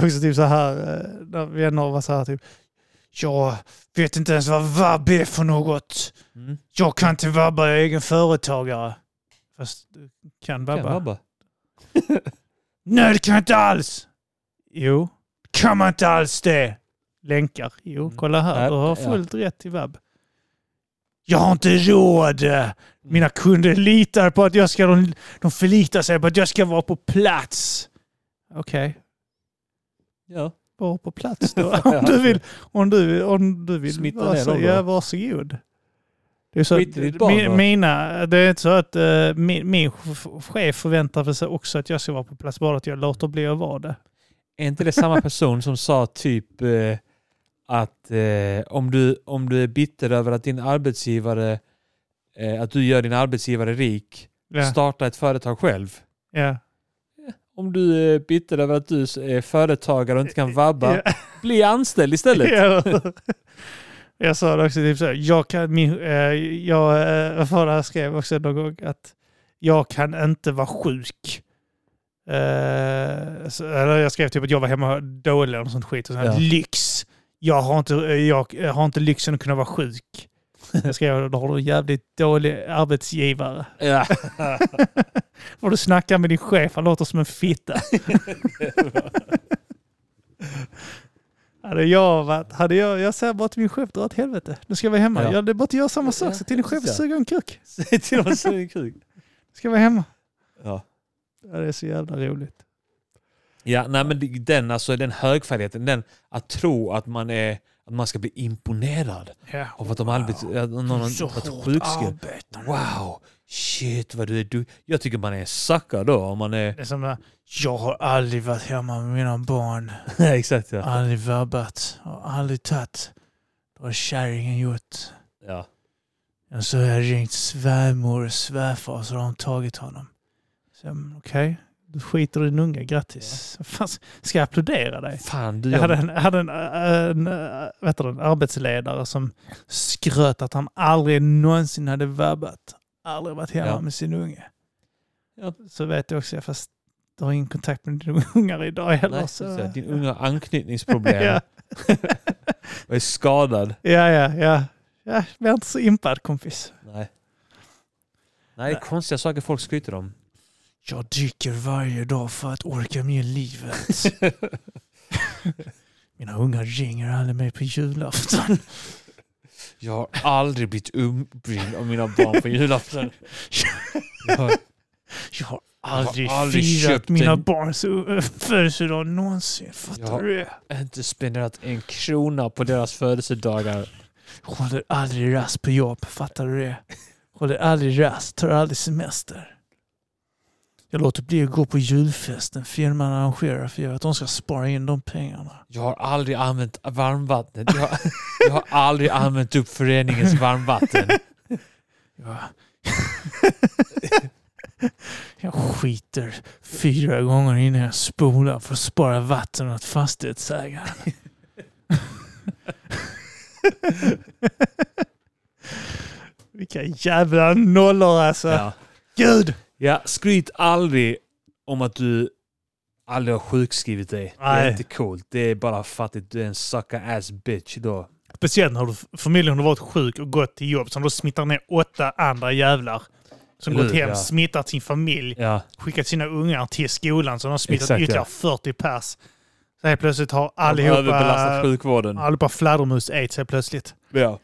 var också typ så här, eh, när vänner var så här typ. Jag vet inte ens vad vabb är för något.
Mm.
Jag kan inte vabba, jag är egen företagare. Fast du kan vabba. Nej, det kan jag inte alls! Jo. Kan man inte alls det? Länkar. Jo,
Mm.
kolla här.
Ja,
Du har
ja.
fullt rätt till vabb. Jag har inte råd!
Mm.
Mina kunder litar på att jag ska... De, de förlitar sig på att jag ska vara på plats. Okej,
Ja.
var på plats då. Om du vill, om du, om du vill
Smitta
vara
ner
så,
dem då.
ja, varsågod. Det är så
Skit i ditt barn
mi-
då.
mina, det är inte så att eh, min, min chef förväntar sig också att jag ska vara på plats, bara att jag låter bli att vara det.
Är inte det samma person som sa typ eh, att eh, om, du, om du är bitter över att din arbetsgivare eh, att du gör din arbetsgivare rik,
Ja,
starta ett företag själv.
ja.
Om du är bitter över att du är företagare och inte kan vabba,
Ja.
bli anställd istället.
Ja. Jag sa det också, typ så här, jag kan, min, eh, jag, eh, vad var det jag skrev också någon gång, att jag kan inte vara sjuk. Eh, så, eller jag skrev typ att jag var hemma dålig eller något sånt skit. Och så här,
Ja.
Lyx! Jag har, inte, eh, jag har inte lyxen att kunna vara sjuk. Jag skrev, då har du en jävligt dålig arbetsgivare.
Ja.
Får du snacka med din chef, han låter som en fitta. hade jag varit, hade jag, jag säger bara till min chef, dra åt helvete. Nu ska jag vara hemma.
Ja.
Jag hade bara gör samma sak. Se till din chef och
Ja.
suga en kuk.
Säg till dem att det är kul.
Ska jag vara hemma.
Ja.
Ja, det är så jävla roligt.
Ja, nej men det- den, alltså, den högfärdigheten, den att tro att man, är, att man ska bli imponerad
Ja.
av att de aldrig, att någon har varit sjukskriven.
arbetande.
Wow, shit vad du är du. Jag tycker man är en sucker då om man är...
Det är som där, jag har aldrig varit hemma med mina barn.
Nej, exakt ja.
Aldrig vabbat och aldrig tagit. Då har kärringen gjort.
ja.
Och så har jag ringt svärmor och svärfar så har de tagit honom. Så, mm, Okej, du skiter i din unge, grattis. Fan, ska jag applådera dig?
Fan du,
Jag hade
jag,
en, jag hade en, äh, en, en, vet du, en arbetsledare som skröt att han aldrig någonsin hade vabbat. Aldrig varit hemma
Ja.
med sin unge.
Ja.
Så vet jag också, fast du har ingen kontakt med dina ungar idag heller.
nej,
så.
så, din unge har anknytningsproblem
Ja.
och är skadad.
Ja, ja, ja. ja jag är inte så impad kompis.
Nej. Nej, det är konstiga saker folk skryter om.
Jag dricker varje dag för att orka med livet. Mina ungar ringer aldrig mig på julafton.
Jag har aldrig blivit uppringd av mina barn på julafton. Jag har
Jag har
har
aldrig,
aldrig
firat
köpt
mina
en-
barns ö- födelsedag någonsin. Fattar
Jag har-
du det?
inte spenderat en krona på deras födelsedagar.
Håller aldrig rast på jobb. Fattar du det? Håller aldrig rast. Tar aldrig semester. Jag låter bli att gå på julfesten firman arrangerar för jag vet att de ska spara in de pengarna.
Jag har aldrig använt varmvattnet. Jag, har- jag har aldrig använt upp föreningens varmvatten.
Jag, jag skiter fyra gånger innan jag spolar för att spara vatten åt fastighetsägaren. Vilka jävla nollor alltså.
Ja.
Gud!
ja, skryt aldrig om att du aldrig har sjukskrivit dig. Det
Nej.
är inte coolt. Det är bara fattigt. Du är en sucker ass bitch då.
Speciellt när du förmodligen har varit sjuk och gått till jobb som då smittar ner åtta andra jävlar. Som
Eller
gått
hur?
hem,
Ja.
smittat sin familj,
Ja,
skickat sina ungar till skolan som har smittat
Exakt, ja.
ytterligare 40 pers. Så helt plötsligt har
de har överbelastat
allihopa,
sjukvården.
allihopa fladdermus-aids helt plötsligt.
Ja.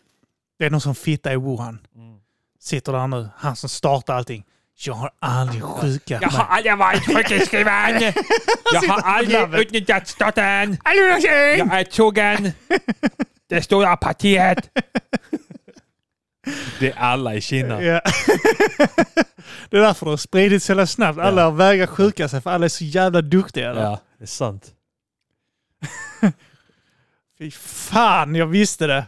Det är någon som fitta i Wuhan.
Mm.
Sitter där nu. Han som startar allting. Jag har aldrig sjukat
Jag har
mig.
aldrig varit sjukskriven. Jag har aldrig
labbet.
utnyttjat staten. Jag är trogen det stora partiet.
Det är alla i Kina.
Ja. det är därför det har spridits så jävla snabbt. Alla
Ja.
vägrar sjuka sig för alla är så jävla duktiga. där.
Ja, det är sant.
Fy fan, jag visste det.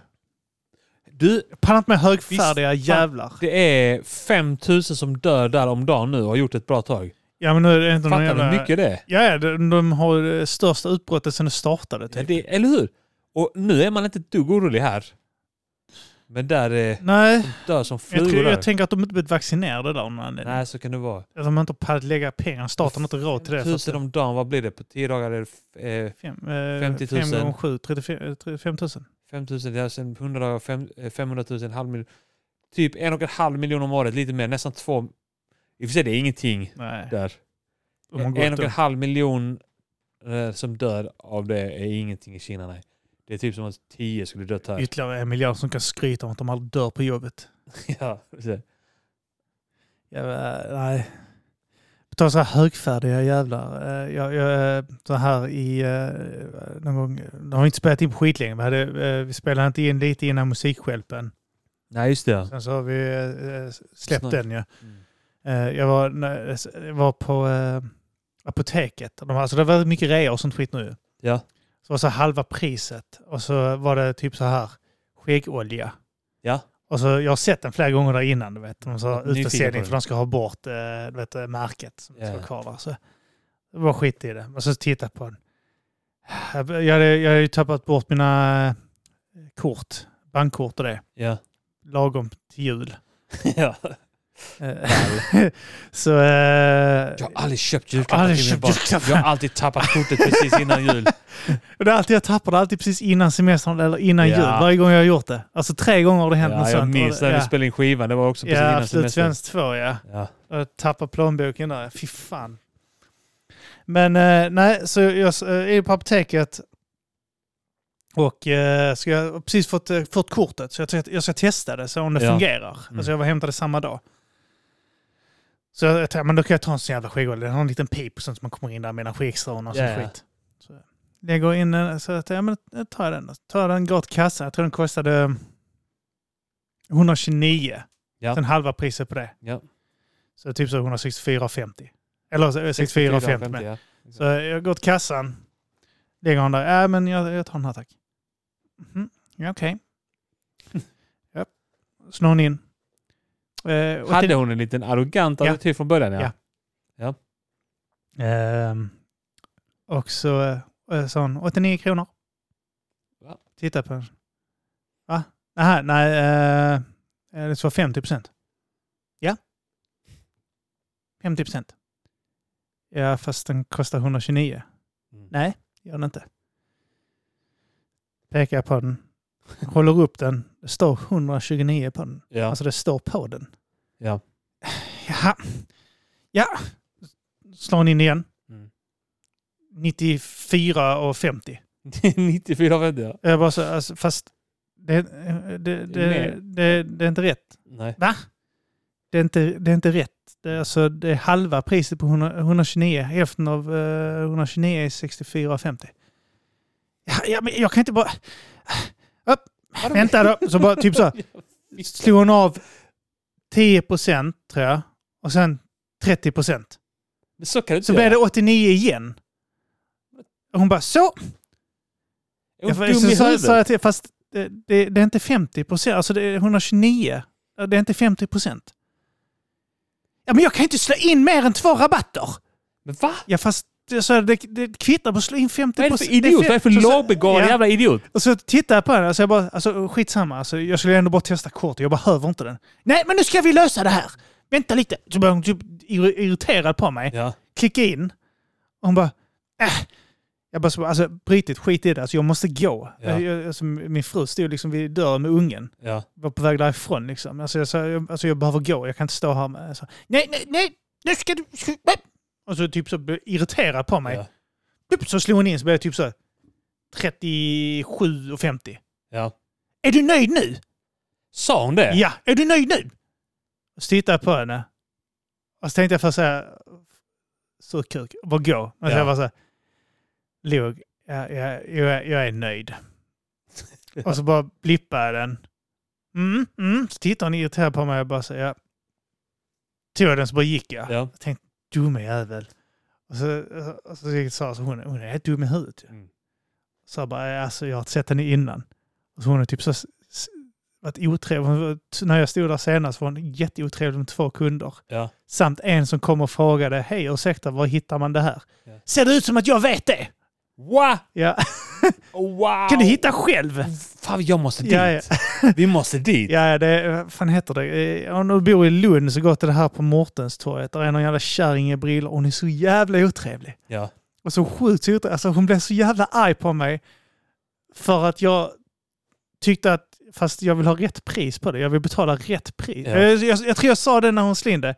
Du,
Pallar inte med högfärdiga
Visst, fan.
jävlar.
det är 5000 som dör där om dagen nu och har gjort ett bra tag.
Ja men nu är det inte någon
Fattar du
jävla...
hur mycket det är?
Ja, ja, de, de har det största utbrottet sedan det startade. Typ.
Ja, det? Eller hur? Och nu är man inte ett dugg orolig här. Men där eh,
Nej,
dör som
jag,
flugor
tror,
där.
jag tänker att de inte blivit vaccinerade där av någon anledning.
Nej, så kan det vara.
Att de inte har pallat lägga pengar. Staten har inte råd till det. för att-
Tusen om dagen, vad blir det? På 10 dagar är det f- eh,
Fem, eh,
50 000.
fem eh, gånger sju, 35 35 000.
5 000, det är alltså sen 100 dagar, fem- eh, 500 000, en halv miljon. Typ en och en halv miljon om året, lite mer, nästan två. I och för sig, det är ingenting
Nej.
där.
de har
en
gått
och en
upp.
halv miljon eh, som dör av det är ingenting i Kina, nej. Det är typ som att tio skulle dött här.
Ytterligare en miljard som kan skryta om att de aldrig dör på jobbet.
ja, precis.
Ja, eh, nej. På tal om så här högfärdiga jävlar. eh, Jag, jag, eh, så här i, eh, någon gång, de har inte spelat in på skitlänge. Vi, hade, eh, vi spelade inte in lite innan musikskälpen.
Nej, just det.
Sen så har vi eh, släppt
Snack.
den ju. Ja.
Mm.
Eh, Jag var, när- jag var på eh, apoteket. De, har- alltså, det var mycket rea och sånt skit nu.
Ja.
Så var så halva priset och så var det typ så här skäggolja.
Ja.
Och så, jag har sett den flera gånger där innan, du vet. De sa
Nyfiken på
utförsäljning
det.
för de ska ha bort eh, du vet, eh, märket som
Ja.
står kvar där. Så det var skit i det. Och så titta på den. Jag hade, jag hade ju tappat bort mina eh, kort, bankkort och det,
Ja.
lagom till jul.
ja.
Eh, så... Eh,
Jag har aldrig köpt julklappar
aldrig
till mina
köpt
barn.
julklappar.
Jag har alltid tappat kortet precis innan jul.
och det är alltid jag tappar det, alltid precis innan semestern eller innan
Ja.
jul. Varje gång jag har gjort det. Alltså tre gånger har det hänt något
Ja, jag
sånt.
minns när vi
ja.
spelade in skivan. Det var också precis
Ja,
innan
Absolut
semestern.
Svenskt 2 ja.
Ja.
Jag tappade Eh, plånboken där. Fy fan. Men eh, nej, så jag eh, är på apoteket och eh, ska jag har precis fått, eh, fått kortet så jag, tänkte att jag ska testa det så om det
Ja.
fungerar.
Mm.
Alltså jag var och hämtade samma dag. Så jag tänkte, men då kan jag ta en sån jävla skäggolja. Den har en liten pip och sånt som man kommer in där mellan skäggstrån och sån
Ja, ja.
skit. Så jag lägger in den så att, ja men då tar jag den. då. Tar jag den, går till kassan. Jag tror den kostade eh, 129.
Ja.
Sen halva priset på det.
Ja.
Så typ så 164,50. Eller så- 64,50 med.
ja.
Så jag går till kassan. Lägger hon där. Ja, men jag, jag tar den här tack. Mhm. Ja, okej. ja. Snår hon in. Eh, och
Hade
till-
hon en liten arrogant
Ja.
attityd från början? Ja.
Ja. Ehm, och så eh, sa hon 89 kronor.
Va?
Titta på den. Va? Nähä, nej, eh, eh, det står 50 procent. Ja. 50 procent. Ja, fast den kostar 129.
Mm.
Nej, gör den inte. Pekar på den. Håller upp den. Det står 129 på den.
Ja.
Alltså det står på den.
Ja.
Jaha. Ja. Slår hon in igen.
Mm.
94 och 50.
94 av 100, ja.
Jag bara så, alltså, fast det, det, det, det,
Mer.
det, det är inte rätt.
Nej.
Det är inte, det är inte rätt. Det är, alltså, det är halva priset på 100, 129. Hälften av eh, 129 är 64,50. Ja, ja, men jag kan inte bara... Upp, vänta då. Så bara typ så. Slog hon av 10 procent tror jag. Och sen 30 procent.
Men så kan du inte
Så blev det 89 igen. Och hon bara så.
Är hon
Ja, för-
dum
så,
i
så, så
huvudet?
jag till, fast det, det, det är inte 50 procent, alltså det är 129. Ja, Det är inte 50 procent. Ja, men jag kan inte slå in mer än två rabatter!
Men va?
Ja, fast det, så, det, det kvittar på att slå in 50
Vad är det för idiot?
fe-
Vad är det för
så- så-
lågbegåvad
ja.
jävla idiot?
Och så tittar jag på den, alltså jag bara, alltså skitsamma, alltså, jag skulle ändå bara testa kort, jag behöver inte den. Nej, men nu ska vi lösa det här! Vänta lite! Så börjar hon typ ir- irriterad på mig
Ja.
klicka in. Och hon bara, äh. Jag bara, så- alltså brytit, skit i det, alltså, jag måste gå.
Ja.
Jag, alltså, min fru stod liksom vid dörren med ungen,
ja.
var på väg därifrån liksom. Alltså jag, sa, jag, alltså, jag behöver gå, jag kan inte stå här med. Alltså, nej, nej, nej, nu ska du... Ska, nej. Och så typ så blev irriterad på mig.
Ja.
Upp, Så slog hon in, så blev jag typ så 37 och 50.
ja.
Är du nöjd nu?
Sa hon det?
Ja, är du nöjd nu? Och så tittade jag på henne. Och så tänkte jag först såhär, sur kuk, bara gå. Men så
Ja.
jag bara såhär, log, ja, ja, jag, är- jag är nöjd. Och så bara blippade jag den. Mm, mm. Så tittade hon irriterad på mig och bara så ja. Tog jag den så bara gick jag.
Ja.
Jag tänkte, dumme jävel. Och så, och så gick- sa så hon, hon är helt dum i huvudet.
Mm.
Så jag bara, alltså jag har inte sett henne innan. Och så hon är typ så s- s- varit otrevlig. Hon var- t- När jag stod där senast var hon jätteotrevlig med två kunder.
Ja.
Samt en som kom och frågade, hej ursäkta, var hittar man det här?
Ja.
Ser det ut som att jag vet det?
Wow!
Ja.
wow!
Kan du hitta själv?
Fan, jag måste dit.
Ja, ja.
Vi måste dit.
Ja, ja, det är- vad fan heter det? Eh, Om du bor i Lund så går till det här på Mårtenstorget. Där är någon jävla kärring i brillor. Hon är så jävla otrevlig.
Ja.
Och så sjukt otrevlig. Alltså hon blev så jävla arg på mig. För att jag tyckte att, fast jag vill ha rätt pris på det. Jag vill betala rätt pris.
Ja.
Eh, Jag, jag tror jag sa det när hon slinde.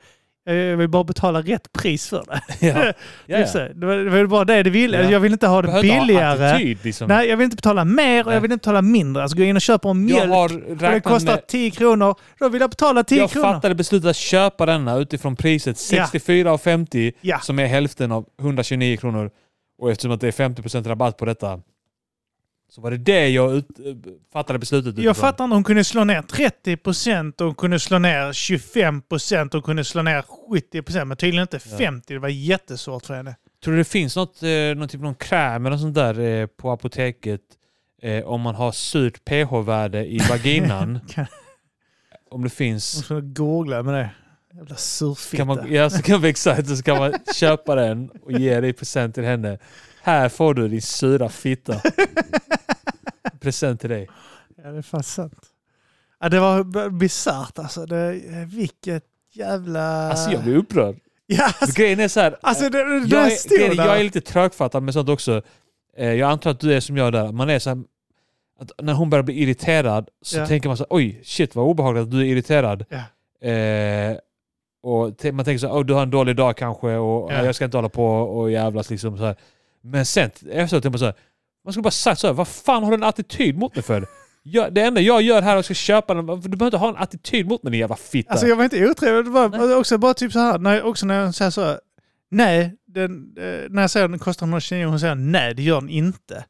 Eh, Jag vill bara betala rätt pris för det.
Ja. Ja,
Just det. Det var- det var bara det du ville.
Ja.
Jag vill inte ha det
Behöver inte ha
billigare.
attityd, liksom.
Nej, jag vill inte betala mer och
Nej.
jag vill inte betala mindre. Alltså gå in och köpa en mjölk.
jag har
Och det
räknat
kostar
med...
10 kronor. Då vill jag betala 10
Jag
kronor.
fattade beslutet att köpa denna utifrån priset
Ja.
64,50
Ja.
som är hälften av 129 kronor. Och eftersom att det är 50% rabatt på detta så var det det jag ut, eh, fattade beslutet utifrån.
Jag fattar inte. Hon kunde slå ner 30 procent, hon kunde slå ner 25 procent, hon kunde slå ner 70 procent, men tydligen inte
Ja.
50. Det var jättesvårt för henne.
Tror du det finns något, eh, någon typ av någon kräm eller något sånt där eh, på apoteket eh, om man har surt pH-värde i vaginan?
Kan-
om det
Hon
finns.
skulle googla med det. Jävla surfitta.
Kan man, ja, så kan vi exakt, så kan man köpa den och ge det i present till henne. Här får du din sura fitta. present till dig.
Ja, det är fan sant. Ja, det var b- bisarrt alltså. Det, vilket jävla...
Alltså jag blir upprörd.
Ja,
För
Ah. alltså,
Grejen är så här,
alltså det, det
jag, är,
stod
grejen är-
där.
jag är lite trögfattad med sånt också. Eh, Jag antar att du är som jag där. Man är så här, att när hon börjar bli irriterad så
Ja.
tänker man så här, oj shit vad obehagligt att du är irriterad. Eh, och te- man tänker så här, "Åh, du har en dålig dag kanske och eh,
Ja.
jag ska inte hålla på och jävlas liksom. Så här. Men sen efteråt tänker man så här, man skulle bara sagt så här, vad fan har du en attityd mot mig för? Jag, det enda jag gör här är att jag ska köpa den, du behöver inte ha en attityd mot mig din jävla fitta.
Alltså jag var inte otrevlig, det var också bara typ så här, när, också när jag säger så här, nej, den, eh, när jag säger den kostar 129 och hon säger nej, det gör den inte.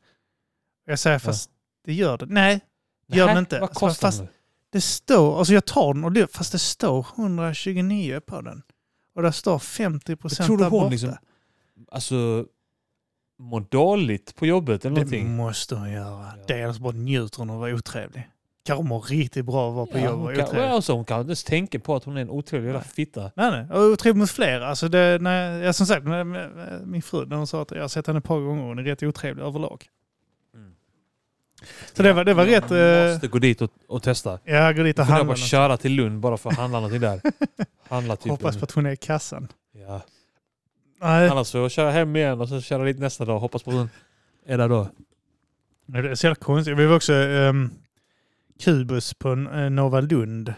Jag säger fast det gör den, nej, det gör den
Nej,
inte.
Vad
Alltså,
kostar
fast
den?
det står, alltså jag tar den och det, fast det står 129 på den. Och där står 50 procent
tror du
där
hon
borta.
liksom- Alltså, mår dåligt på jobbet eller
det Mm,
någonting?
måste hon göra.
Ja.
Dels bara njuter hon av att vara otrevlig. Kanske mår riktigt bra av att vara på
Ja,
jobb och
hon,
vara
kan,
otrevlig.
alltså, hon kan inte ens tänka på att hon är en otrolig jävla fitta.
Nej, nej. Och otrevlig mot fler. Alltså det, när, jag, som sagt, när, när- min fru när hon sa att jag har sett henne ett par gånger och hon är rätt otrevlig överlag.
Mm.
Så det var, det var
Ja,
rätt...
Man
eh,
måste gå dit och, och testa.
Jag går dit och
Då får Mm. jag
handlar.
bara
något.
köra till Lund bara för att handla någonting där. Handla typ
Hoppas
en-
på att hon är i kassan.
ja.
Nej,
Annars får jag köra hem igen och så köra dit nästa dag. Hoppas på att hon är där då.
det är så jävla konstigt. Vi var också um, Kubus på uh, Nova Lund.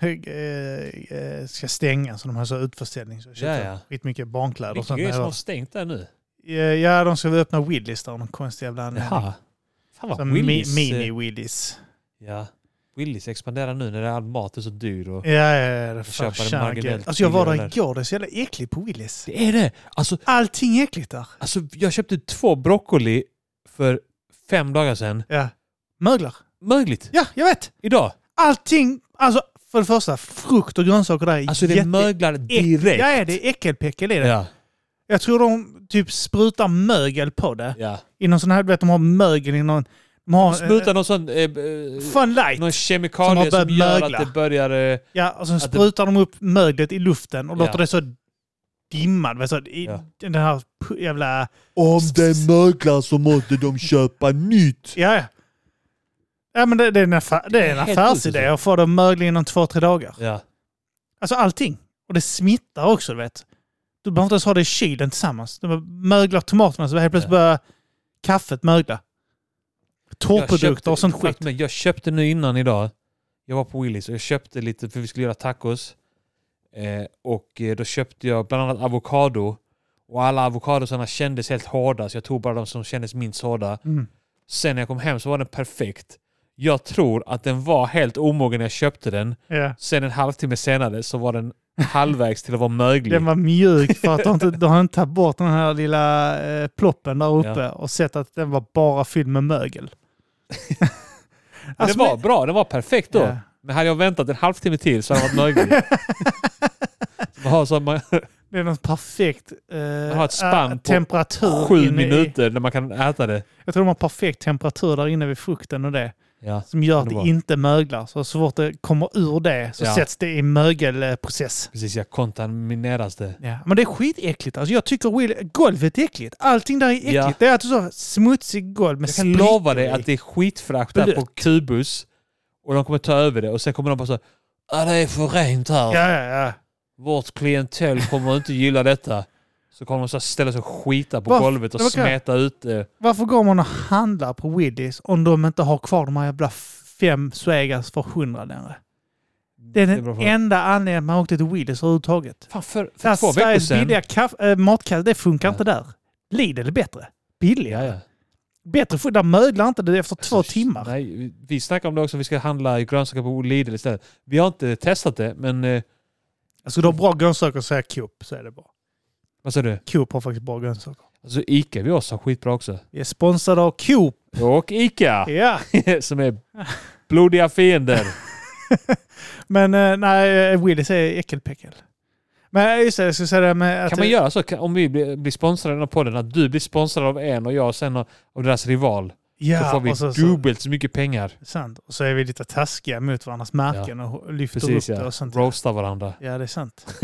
Hög, eh, eh, ska stänga så de har så utförsäljning. Så jag
Ja,
köpte
ja.
skitmycket barnkläder och
Vilken
sånt.
grej
när jag
som
var-
har stängt där nu.
Eh, Ja, de skulle öppna Willys av någon konstig jävla anledning.
Jaha. Fan vad
Som mi-
Willys... eh,
Mini-Willys.
Ja. Willys expanderar nu när all mat är så dyr. Och...
Ja, ja, ja.
köpa
Fan,
en
tjena,
marginellt
gud. Alltså jag var där
billigare.
igår, det är så jävla äckligt på Willys.
Det är det! Alltså,
Allting är äckligt där.
alltså, jag köpte två broccoli för fem dagar sedan.
Ja. Möglar.
Mögligt!
Ja, jag vet.
Idag!
Allting, alltså för det första, frukt och grönsaker där är
Alltså det
jätte-
möglar direkt.
Ja, ja, det är äckelpäckel i det.
Ja,
Jag tror de typ sprutar mögel på det.
ja.
I någon sån här, du vet, de har mögel i någon... De har...
Spruta någon sån... Eh, eh,
eh, Fun
någon
light! Som har
kemikalie som,
börjat
gör
mögla.
att det börjar... Eh,
Ja, och sen
Att det-
sprutar de upp möglet i luften och
Ja.
låter det så dimma. du vet, Så, i,
Ja.
Den här pu- jävla...
Om det möglar så måste de köpa nytt.
Ja, ja. Ja, men det, det är en, affär, det är en
Helt
affärsidé
otroligt.
att få det mögel inom två, tre dagar.
ja.
Alltså allting. Och det smittar också, du vet. Du behöver inte ens ha det i kylen tillsammans. Du bara möglar tomaterna så helt plötsligt börjar kaffet mögla.
Jag köpte-
Torrprodukter och sånt
exakt,
skit.
men Jag köpte nu innan idag. Jag var på Willys och jag köpte lite för vi skulle göra tacos. Eh, och eh, då köpte jag bland annat avokado. Och alla avokadosarna kändes helt hårda så jag tog bara de som kändes minst hårda.
Mm.
Sen när jag kom hem så var den perfekt. Jag tror att den var helt omogen när jag köpte den.
Ja.
Sen en halvtimme senare så var den halvvägs till att vara möglig.
Den var mjuk för att de inte, de har inte tagit bort den här lilla eh, ploppen där uppe och sett att den var bara fylld med mögel.
Men
Alltså,
det var bra, den var perfekt då.
Ja.
Men hade jag väntat en halvtimme till så hade den varit möglig. Man har, så man,
Det är någon perfekt eh,
har ett spann
eh,
på
temperatur.
sju
inne
minuter när man kan äta det.
I, jag tror de har perfekt temperatur där inne vid frukten och det.
Ja.
Som gör att det
Underbart.
inte möglar. Så, så fort det kommer ur det så
Ja.
sätts det i mögelprocess.
Precis, jag kontamineras det.
Ja. Men det är skitäckligt. Alltså jag tycker Will, golvet är äckligt. Allting där är äckligt.
Ja.
Det är alltså så smutsig golv med
Jag kan lova dig
sprickor i.
att det är skitfrakt där på
Blött.
Kubus. Och de kommer ta över det och sen kommer de bara så här, ah, det är för rent här.
Ja, ja, ja.
Vårt klientel kommer inte gilla detta. Så kommer de så här ställa sig och skita på
Varför?
golvet och
Det var klart.
smeta ut det.
Varför går man och handlar på Willys om de inte har kvar de här jävla fem Swegas för hundra längre? Det är
Det är
den
bra fråga.
enda anledningen man åkte till Willys överhuvudtaget.
Fan, för,
Det här
för två veckor
Sveriges
sedan.
billiga kaff- äh, matkasse, det funkar
Ja.
inte där. Lidl är bättre.
Ja,
Billigare.
ja.
Bättre food. Där möglar inte det efter två
Alltså,
timmar.
Nej, vi- vi snackade om det också, vi ska handla grönsaker på Lidl istället. Vi har inte testat det, men eh,
Alltså du har bra grönsaker så är Coop så är det bra.
vad sa du?
Coop har faktiskt bra grönsaker.
Alltså Ica vid oss har skitbra också.
Vi är sponsrade av Coop.
Och Ica,
Ja.
som är blodiga fiender.
Men eh, nej, eh, Willys är äckelpäckel. Men eh, just det, jag skulle säga det med att...
Kan man göra så Kan- om vi blir, blir sponsrade av podden, att du blir sponsrad av en och jag sen av, av deras rival?
Ja,
då får vi
och så- så-
dubbelt så mycket pengar.
Sant. Och så är vi lite taskiga mot varandras märken och lyfter
Precis
upp det
ja,
och sånt.
roastar varandra.
Ja, det är sant.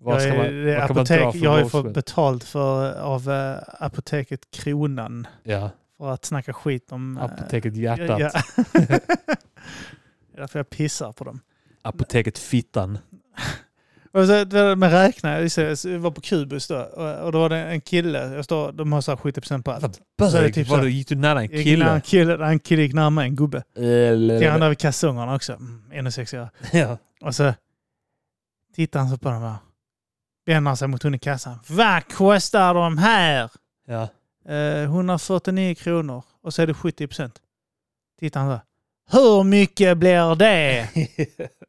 Vad
jag,
ska
är,
man,
det är
vad kan man
apotek,
dra för
jag har ju
roast-
fått betalt för, av eh, apoteket Kronan
Ja,
för att snacka skit om... eh,
apoteket
ja,
hjärtat,
ja. det är därför jag pissar på dem.
apoteket fittan.
Och så, det där med räkna, jag ser- jag var på Kubus då och, och då var det en kille, jag står, de har så här 70% på allt. Så är det
Bög,
typ
typ vad
så-
du gick du nära en
Jag gick nära En
kille?
kille, en kille gick närmare en gubbe. Till han
Eller-
där vid kassongerna också. Mm, ännu sexigare.
Ja.
Och så tittar han så på dem här. Vänder sig mot hon i kassan. Vad kostar de här?
Ja.
Eh, 149 kronor. Och så är det 70 procent. Tittar han så. här. Hur mycket blir det?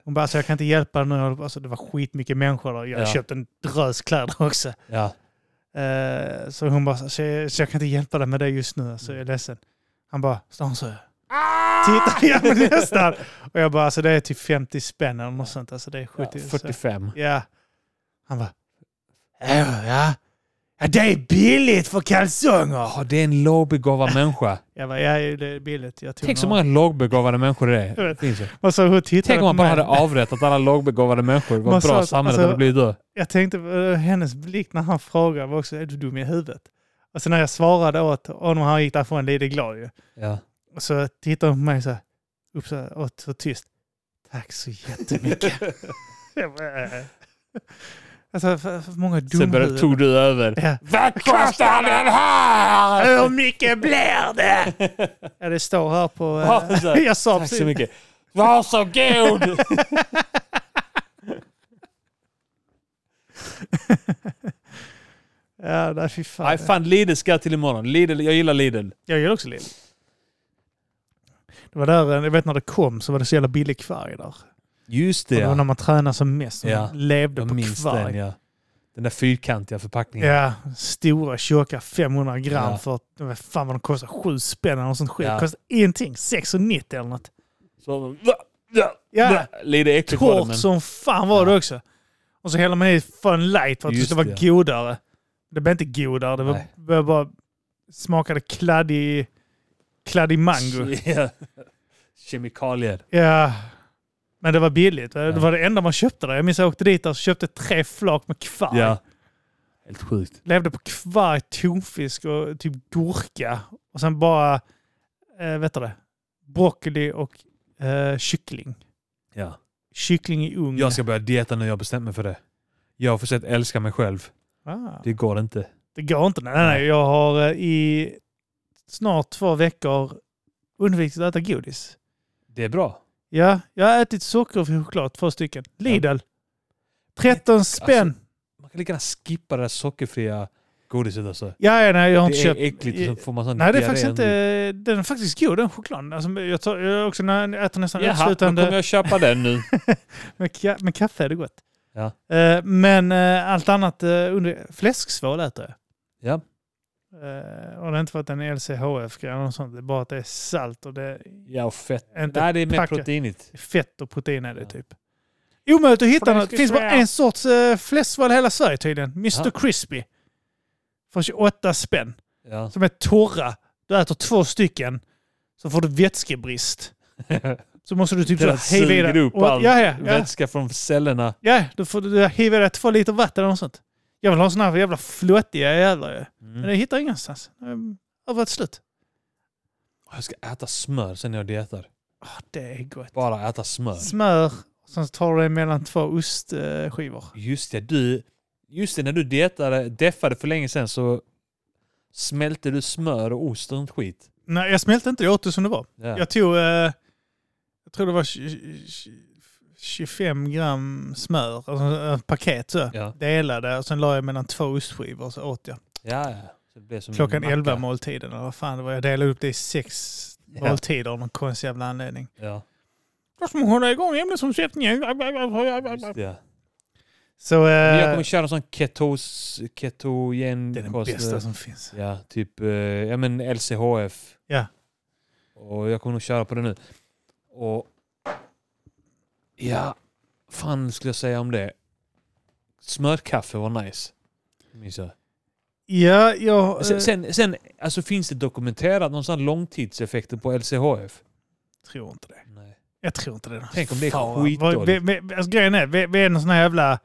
Hon bara, alltså, jag kan inte hjälpa dig nu. Alltså, det var skitmycket människor där. Jag
Ja.
köpte en drös kläder också.
ja.
Eh, så hon bara, så jag, så jag kan inte hjälpa dig med det just nu. Så jag är
Mm.
ledsen. Han bara, står han så här. Titta, ja men nästan. Och jag bara, alltså det är typ 50 spänn eller något sånt. Alltså det är 70. så-
45.
Ja. Han bara, "Ja, ja. Ja, det är billigt för kalsonger.
Ja, det är en lågbegåvad människa.
Jag bara, ja det är billigt. Jag tog
Tänk så
några."
många lågbegåvade människor det
Jag
är.
vet.
Finns det.
Och så hon tittade
Tänk om
på
man bara
mig.
hade avrättat alla lågbegåvade människor. Vad
Man sa
bra
att-
samhället
alltså-
hade blivit då.
Jag tänkte på eh, hennes blick när han frågade var också, är du dum i huvudet? Och sen när jag svarade åt honom, han gick därifrån lite glad ju.
Ja.
Och så tittade hon på mig så här, upp så här, och så tyst. Tack så jättemycket. Jag bara, "Eh." alltså, för, för många
Sen började,
dumhuvuden.
tog du över.
Ja.
Vad kostar den här?
Hur mycket blir det? Ja, det står här på... eh,
Ja, så här.
jag sa
Tack
precis.
så mycket. Varsågod!
Eh, Ja, nej, fy fan.
Nej, fan Lidl ska jag till imorgon. Lidl, jag gillar Lidl.
Jag gillar också Lidl. Det var där, eh, jag vet när det kom så var det så jävla billig kvarg där.
Just det,
Det var när
ja.
man tränade som mest. Man
Ja.
levde
Jag
på
minns
kvarg.
den, ja. Den där fyrkantiga förpackningen.
Ja, stora, tjocka, 500 gram
Ja.
för, vad fan vad de kostar, sju spänn eller något sånt skit.
Ja.
Kostar ingenting, 6,90 eller något.
Så,
Ja,
Lite äckligt var det,
torrt
men
som fan var det också. Och så häller man i Fun Light för att det
Just
ska vara
det,
godare. Det blev inte godare, det var,
Nej.
var bara smakade kladdig, kladdig mango.
Ja. Kemikalier.
Ja. Men det var billigt. Det
Ja.
var det enda man köpte där. Jag minns jag åkte dit där och köpte tre flak med kvarg.
Ja. Helt sjukt.
levde på kvarg, tonfisk och typ gurka. Och sen bara, eh, vet du det, broccoli och eh, kyckling.
Ja.
Kyckling i ugn.
Jag ska börja dieta nu, jag har bestämt mig för det. Jag har försökt älska mig själv.
ah,
Det går inte.
det går inte. Nej, nej, nej. Jag har eh, i snart två veckor undvikit att äta godis.
Det är bra.
Ja, jag har ätit socker och choklad, två stycken. Lidl. 13
Alltså,
spänn.
Man kan lika gärna skippa det där sockerfria godiset alltså.
Ja, ja, nej, jag har
det
inte
är
köpt.
äckligt. Så får man sån
Nej, det är
diarré
faktiskt
ändå.
inte... Den är faktiskt god, den chokladen. Alltså, jag, tar, jag också när jag äter nästan
Jaha, då
uteslutande...
kommer jag köpa den nu.
Men, ka- men kaffe är det gott.
Ja.
Eh, men eh, allt annat eh, under... Fläsksvål äter jag.
Ja.
Eh, och det är inte för att den är LCHF-grej eller något sånt. Det är bara att det är salt och det är
Ja, och fett.
Inte
Nej, det är mer
packa.
proteinigt.
fett och protein är det
Ja.
typ. Omöjligt att hitta något. Det finns bara
Fläsksvål.
en sorts eh, fläsksvål i hela Sverige tydligen. Mr
Ja.
Crispy. För 28 spänn.
Ja.
Som är torra. Du äter två stycken så får du vätskebrist. Så måste du typ
Det
så
där
här hejva i
suger
dig.
upp
och-
all
ja, ja, ja.
Vätska från cellerna.
Ja, då får du hiva i dig två liter vatten eller något sånt. Jag vill ha såna här jävla flottiga jävlar ju.
Mm.
Men det hittar jag ingenstans. Ehm, Överallt slut.
Jag ska äta smör sen när jag dietar.
Ah, det är gott.
Bara äta smör.
Smör, sen tar du det mellan två ostskivor.
Just det, du, just det när du dietade, deffade för länge sedan så smälte du smör och ost och sånt skit.
Nej, jag smälte inte. Jag åt det som det var.
Ja.
Jag tog, eh, jag tror det var 20 25 gram smör, alltså ett paket så.
Ja.
Delade och sen la jag mellan två ostskivor och så åt jag.
Ja, ja. Så det blev som en
Klockan
macka.
11 måltiden eller vad fan det var. Jag delade upp det i sex
Ja.
måltider av någon konstig jävla anledning.
Ja,
Då ska man hålla igång ämnesomsättningen.
just det.
Så eh,
Men jag kommer köra en sån ketos, ketogen
det är den
kost,
bästa
eh,
som finns.
Ja, typ eh, ja, men LCHF.
Ja.
Och jag kommer nog köra på det nu. Och ja, fan skulle jag säga om det. Smörkaffe var nice. Minns jag.
Ja, jag,
Sen,
eh,
sen, sen alltså, finns det dokumenterat någon sån här långtidseffekter på LCHF?
tror inte det.
Nej.
Jag tror inte det.
Tänk om det är
Fan, vad- vi,
skitdåligt.
vi, alltså, Grejen är, vi, vi är en sån här jävla...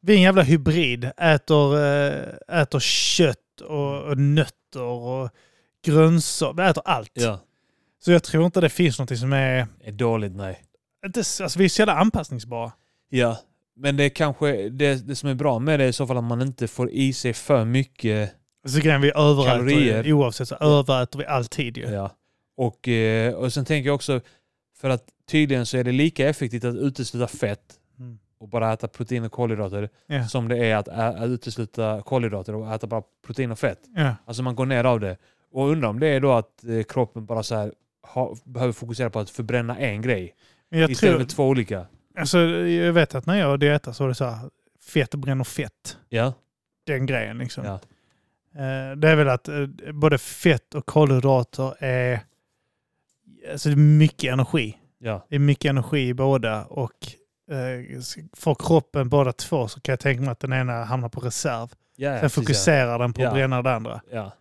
Vi är en jävla hybrid. Äter, eh, äter kött och, och nötter och grönsaker. Vi äter allt.
Ja.
Så jag tror inte det finns någonting som är...
Är dåligt, nej.
Inte, s- alltså, vi är så jävla anpassningsbara.
Ja. Men det är kanske det, det som är bra med det är i så fall att man inte får i sig för mycket.
Så Alltså, grejen vi överäter
Kalorier.
ju, oavsett så överäter vi alltid ju.
Ja. Och, eh, och sen tänker jag också, för att tydligen så är det lika effektivt att utesluta fett
Mm.
och bara äta protein och kolhydrater
Ja.
som det är att, ä- att utesluta kolhydrater och äta bara protein och fett.
Ja.
Alltså man går ner av det. Och undrar om det är då att eh, kroppen bara så här ha, behöver fokusera på att förbränna en grej
Men jag
istället
tror,
för två olika.
Alltså, jag vet att när jag dietar så är det så här, fett bränner fett.
Ja,
Den grejen liksom.
Ja.
Eh, Det är väl att eh, både fett och kolhydrater är... Alltså det är mycket energi.
ja,
Det är mycket energi i båda och eh, för kroppen båda två så kan jag tänka mig att den ena hamnar på reserv.
ja.
Sen
precis, ja.
fokuserar den på att
Ja.
bränna det andra.
Ja,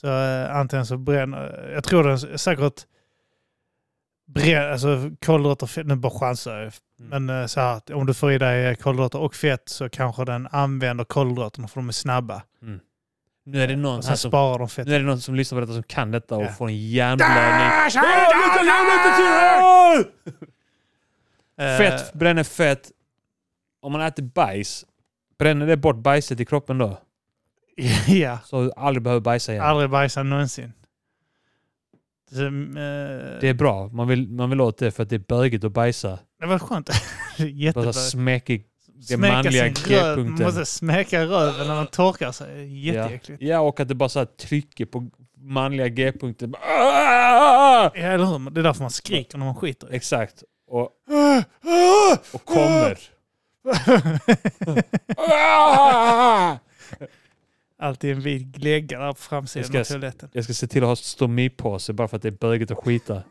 Så eh, antingen så bränner... Jag tror den säkert... Brän, alltså kolhydrater och fett, nu bara chansar jag.
Mm.
Men eh, så här, att om du får i dig eh, kolhydrater och fett så kanske den använder kolhydraterna för de är snabba.
Nu är det någon
Och sen
här som
sparar de fett.
nu är det någon som lyssnar på detta som kan detta och
Ja.
får en hjärnblödning.
Ah, så är det alla!
Eh,
Fett bränner fett. Om man äter bajs, bränner det bort bajset i kroppen då?
ja,
Så du aldrig behöver bajsa igen.
aldrig bajsat någonsin. Så, eh,
Det
det,
är bra. Man vill, man vill åt det för att det är bögigt att bajsa.
var skönt.
Bara
Jättebra.
så här smekig det manliga
röv. Man
g-punkten.
måste smäcka röven när man torkar sig. Jätteäckligt.
Ja, och att det bara så här trycker på manliga g-punkten. Bara, "Ah!"
Ja. eller hur? Det är därför man skriker när man skiter. i.
Exakt. Och,
Ah!
och kommer.
Alltid en vid glägga där på
Jag
framsidan
ska
av
s-
toaletten.
Jag ska se till att ha stomipåse bara för att det är böget att skita.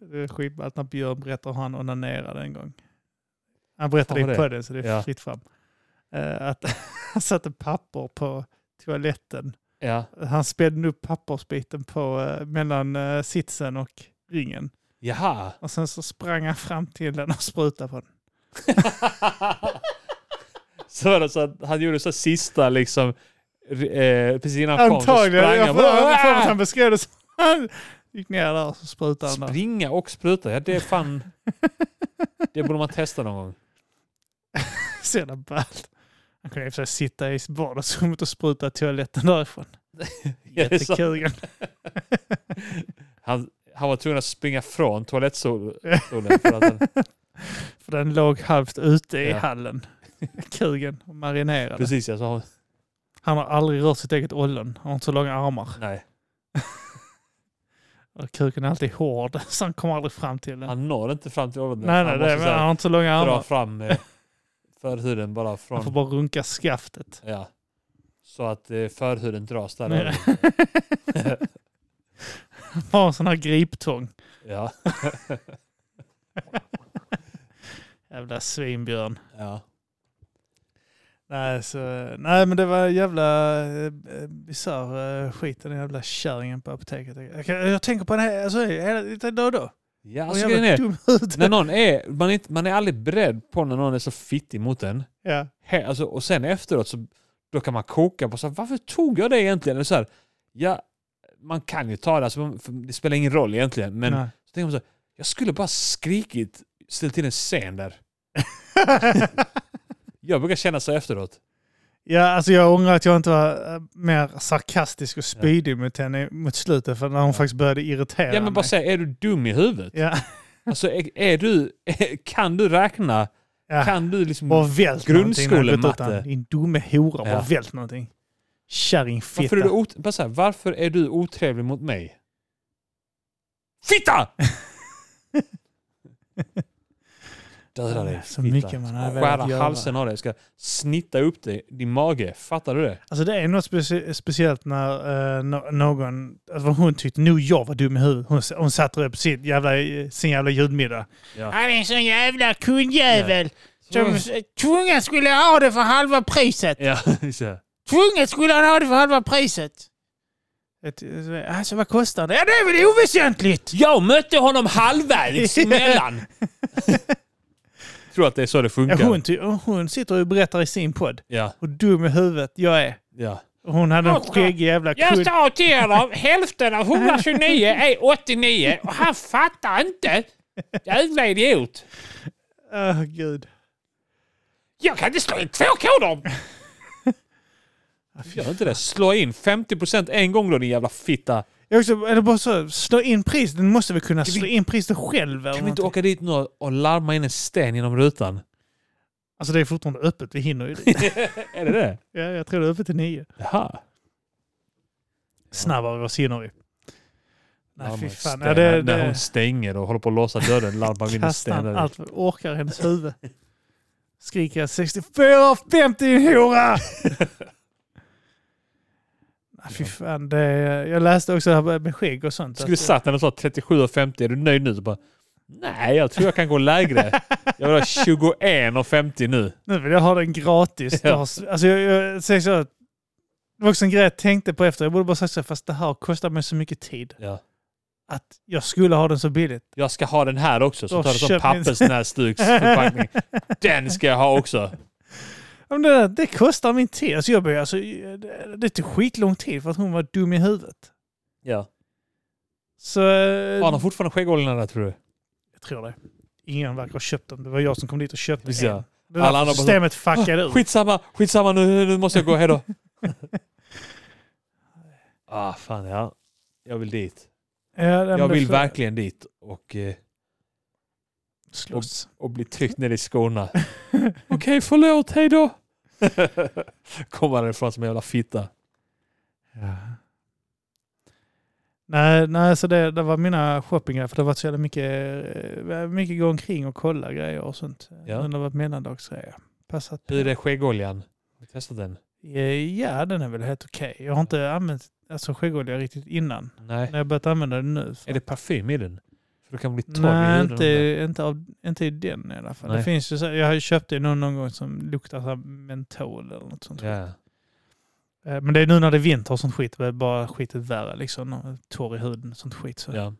Det är skitballt när Björn berättar hur han onanerade en gång. Han berättade
Fan,
det
vad
på det, så det är
Ja.
fritt fram. Eh, att han satte papper på toaletten.
Ja.
Han spände upp pappersbiten på, eh, mellan eh, sitsen och ringen.
Jaha.
Och sen så sprang han fram till den och sprutade på den.
så var det så att han gjorde så här sista liksom, eh, precis innan han kom så sprang
Antagligen. Jag
han.
får jag får att han
bara, "Äh!"
beskrev det som han gick ner där och så sprutade han där.
Springa och spruta, ja det är fan... Det borde man testa någon gång.
Så jävla ballt. Han kunde i och för sig sitta i vardagsrummet och spruta i toaletten därifrån.
Ja, det är så-
Jättekugen.
Han, han var tvungen att springa från toalettstolen. för att han-
För den låg halvt ute i
Ja.
hallen. Kugen och marinerade.
Precis ja, så han,
Han har aldrig rört sitt eget ollon. Han har inte så långa armar.
nej.
Och kuken är alltid hård så han kommer aldrig fram till den.
han når inte fram till åldern.
nej, nej,
han
det, men
så här
han har inte så långa
dra
armar.
fram eh, förhuden bara
Han får
från...
bara runka skaftet.
Ja. Så att eh, förhuden dras där.
Nej.
över.
Han har en sån här griptång.
Ja.
Jävla svinbjörn.
ja.
Nej, så, nej men det var jävla eh, bisarr eh, skit den jävla kärringen på apoteket. Jag, kan- jag tänker på den här, alltså, hela, lite då och då.
Ja,
Hon
alltså,
är
grejen
jävla
är,
dum ut.
när någon är, man, är inte, man är aldrig beredd på när någon är så fittig mot en.
Ja.
He, alltså, och sen efteråt så då kan man koka på så här, varför tog jag det egentligen? Eller så här, ja, man kan ju ta det, alltså, man- för det spelar ingen roll egentligen. Men
Nej.
så tänker man så här, jag skulle bara skrikit, ställt till en scen där. Jag brukar känna så efteråt.
ja, alltså jag ångrar att jag inte var eh, mer sarkastisk och spydig mot henne mot slutet för när hon faktiskt började irritera
Ja men bara
mig.
säga, är du dum i huvudet?
Ja,
Alltså är, är du, kan du räkna?
ja.
Kan du liksom...
Bara vält någonting när jag gått ut
Grundskolematte.
där. Din dumme hora, bara
Ja.
vält någonting. Kärringfitta.
Varför är, du ot- bara så här, varför är du otrevlig mot mig? Fitta! Döda dig.
Så
fitta.
mycket man hade
Skära
velat göra.
halsen av dig. Jag ska snitta upp dig, din mage. Fattar du det?
Alltså det är något specie- speciellt när eh, no- någon, alltså vad hon tyckte nog jag var dum i huvudet. Hon, s- hon satte upp sin jävla, sin jävla julmiddag.
Ja.
Han är en sån jävla kundjävel.
Mm.
tvungen skulle ha det för halva priset.
Ja, just det.
Tvungen skulle han ha det för halva priset. Ett, alltså vad kostar det? Ja det är väl oväsentligt!
Jag mötte honom halvvägs emellan. Tror att det är så det
Ja,
funkar.
hon, ty- hon sitter och berättar i sin podd
Ja,
hur dum i huvudet jag är.
ja.
Och Hon hade en skäggig jävla kund.
sa till honom, hälften av 129 är 89 och han fattar inte. Jävla idiot.
Åh gud.
Jag kan inte slå in två koder! Gör inte det. Slå in 50% en gång då din jävla fitta.
Jag också, eller bara så, slå in priset. Den måste väl kunna
vi-
slå in priset själv? Eller
Kan vi inte
någonting.
åka dit nu och larma in en sten genom rutan?
Alltså det är fortfarande öppet. Vi hinner ju det.
Är det det?
ja, jag tror det är öppet till nio.
Jaha.
Snabbare än vad vi hinner vi. Nej, fy
Larma
fan.
sten.
Ja, det,
När hon
det,
stänger och håller på att låsa dörren larmar vi in en
kastar
sten.
han
där.
allt vad orkar i hennes huvud. Skriker jag 64 50 din hora! Nej, fy fan. Det, jag läste också det här med skägg och sånt.
Skulle
att-
satt henne och sa 37 och 50, är du nöjd nu? Så bara, Nej, jag tror jag kan gå lägre. Jag vill ha 21 och 50 nu.
Nu vill jag ha den gratis.
Ja.
Jag har- Alltså jag, jag säger så att det var också en grej jag tänkte på efter. Jag borde bara sagt så här, fast det här kostar mig så mycket tid.
Ja.
Att jag skulle ha den så billigt.
Jag ska ha den här också. Så
Då
tar du som
köp min-
pappersnäsduksförpackning. Den ska jag ha också.
Ja, Men det, där, det kostar min tid. Alltså jag började, alltså, det, det tog skitlång tid för att hon var dum i huvudet.
Ja.
Så eh,
Har han
jag
fortfarande skäggoljorna där tror du?
tror det. Ingen verkar ha köpt dem. Det var jag som kom dit och köpte
Precis,
en.
ja.
Det
Alla
där
andra bara "Ah, så-
systemet fuckade ur.
Skitsamma, skitsamma nu, nu måste jag gå, hejdå. ah fan ja. Jag vill dit.
Ja, men
Jag
det
vill
får-
verkligen dit. Och eh,
Slåss.
och bli tryckt ner i skorna. Okej, förlåt, hej då! Kommer han ifrån som en jävla fitta.
Ja. Nej, nej så det, det var mina shoppinggrejer. För det har varit så jävla mycket, eh, mycket gå omkring och kolla grejer och sånt.
Ja.
Ja. Men det har varit mellandagsgrejer. Passat. på.
Hur är skäggoljan? Har du testat den?
Eh, Ja, den är väl helt okej. Jag har inte använt alltså, skäggolja riktigt innan.
Nej.
När jag börjat använda den nu. så-
Är det parfym i den? För då kan bli torr i
Nej,
huden.
inte, inte, av, inte i den i alla fall.
Nej.
Det finns ju, så- jag har ju köpt det någon, någon gång som luktar så här mentol eller något sånt.
Ja.
Eh, Men det är nu när det är vinter och sånt skit, det är bara skitet värre liksom. Torr i huden och sånt skit. Så.
Ja.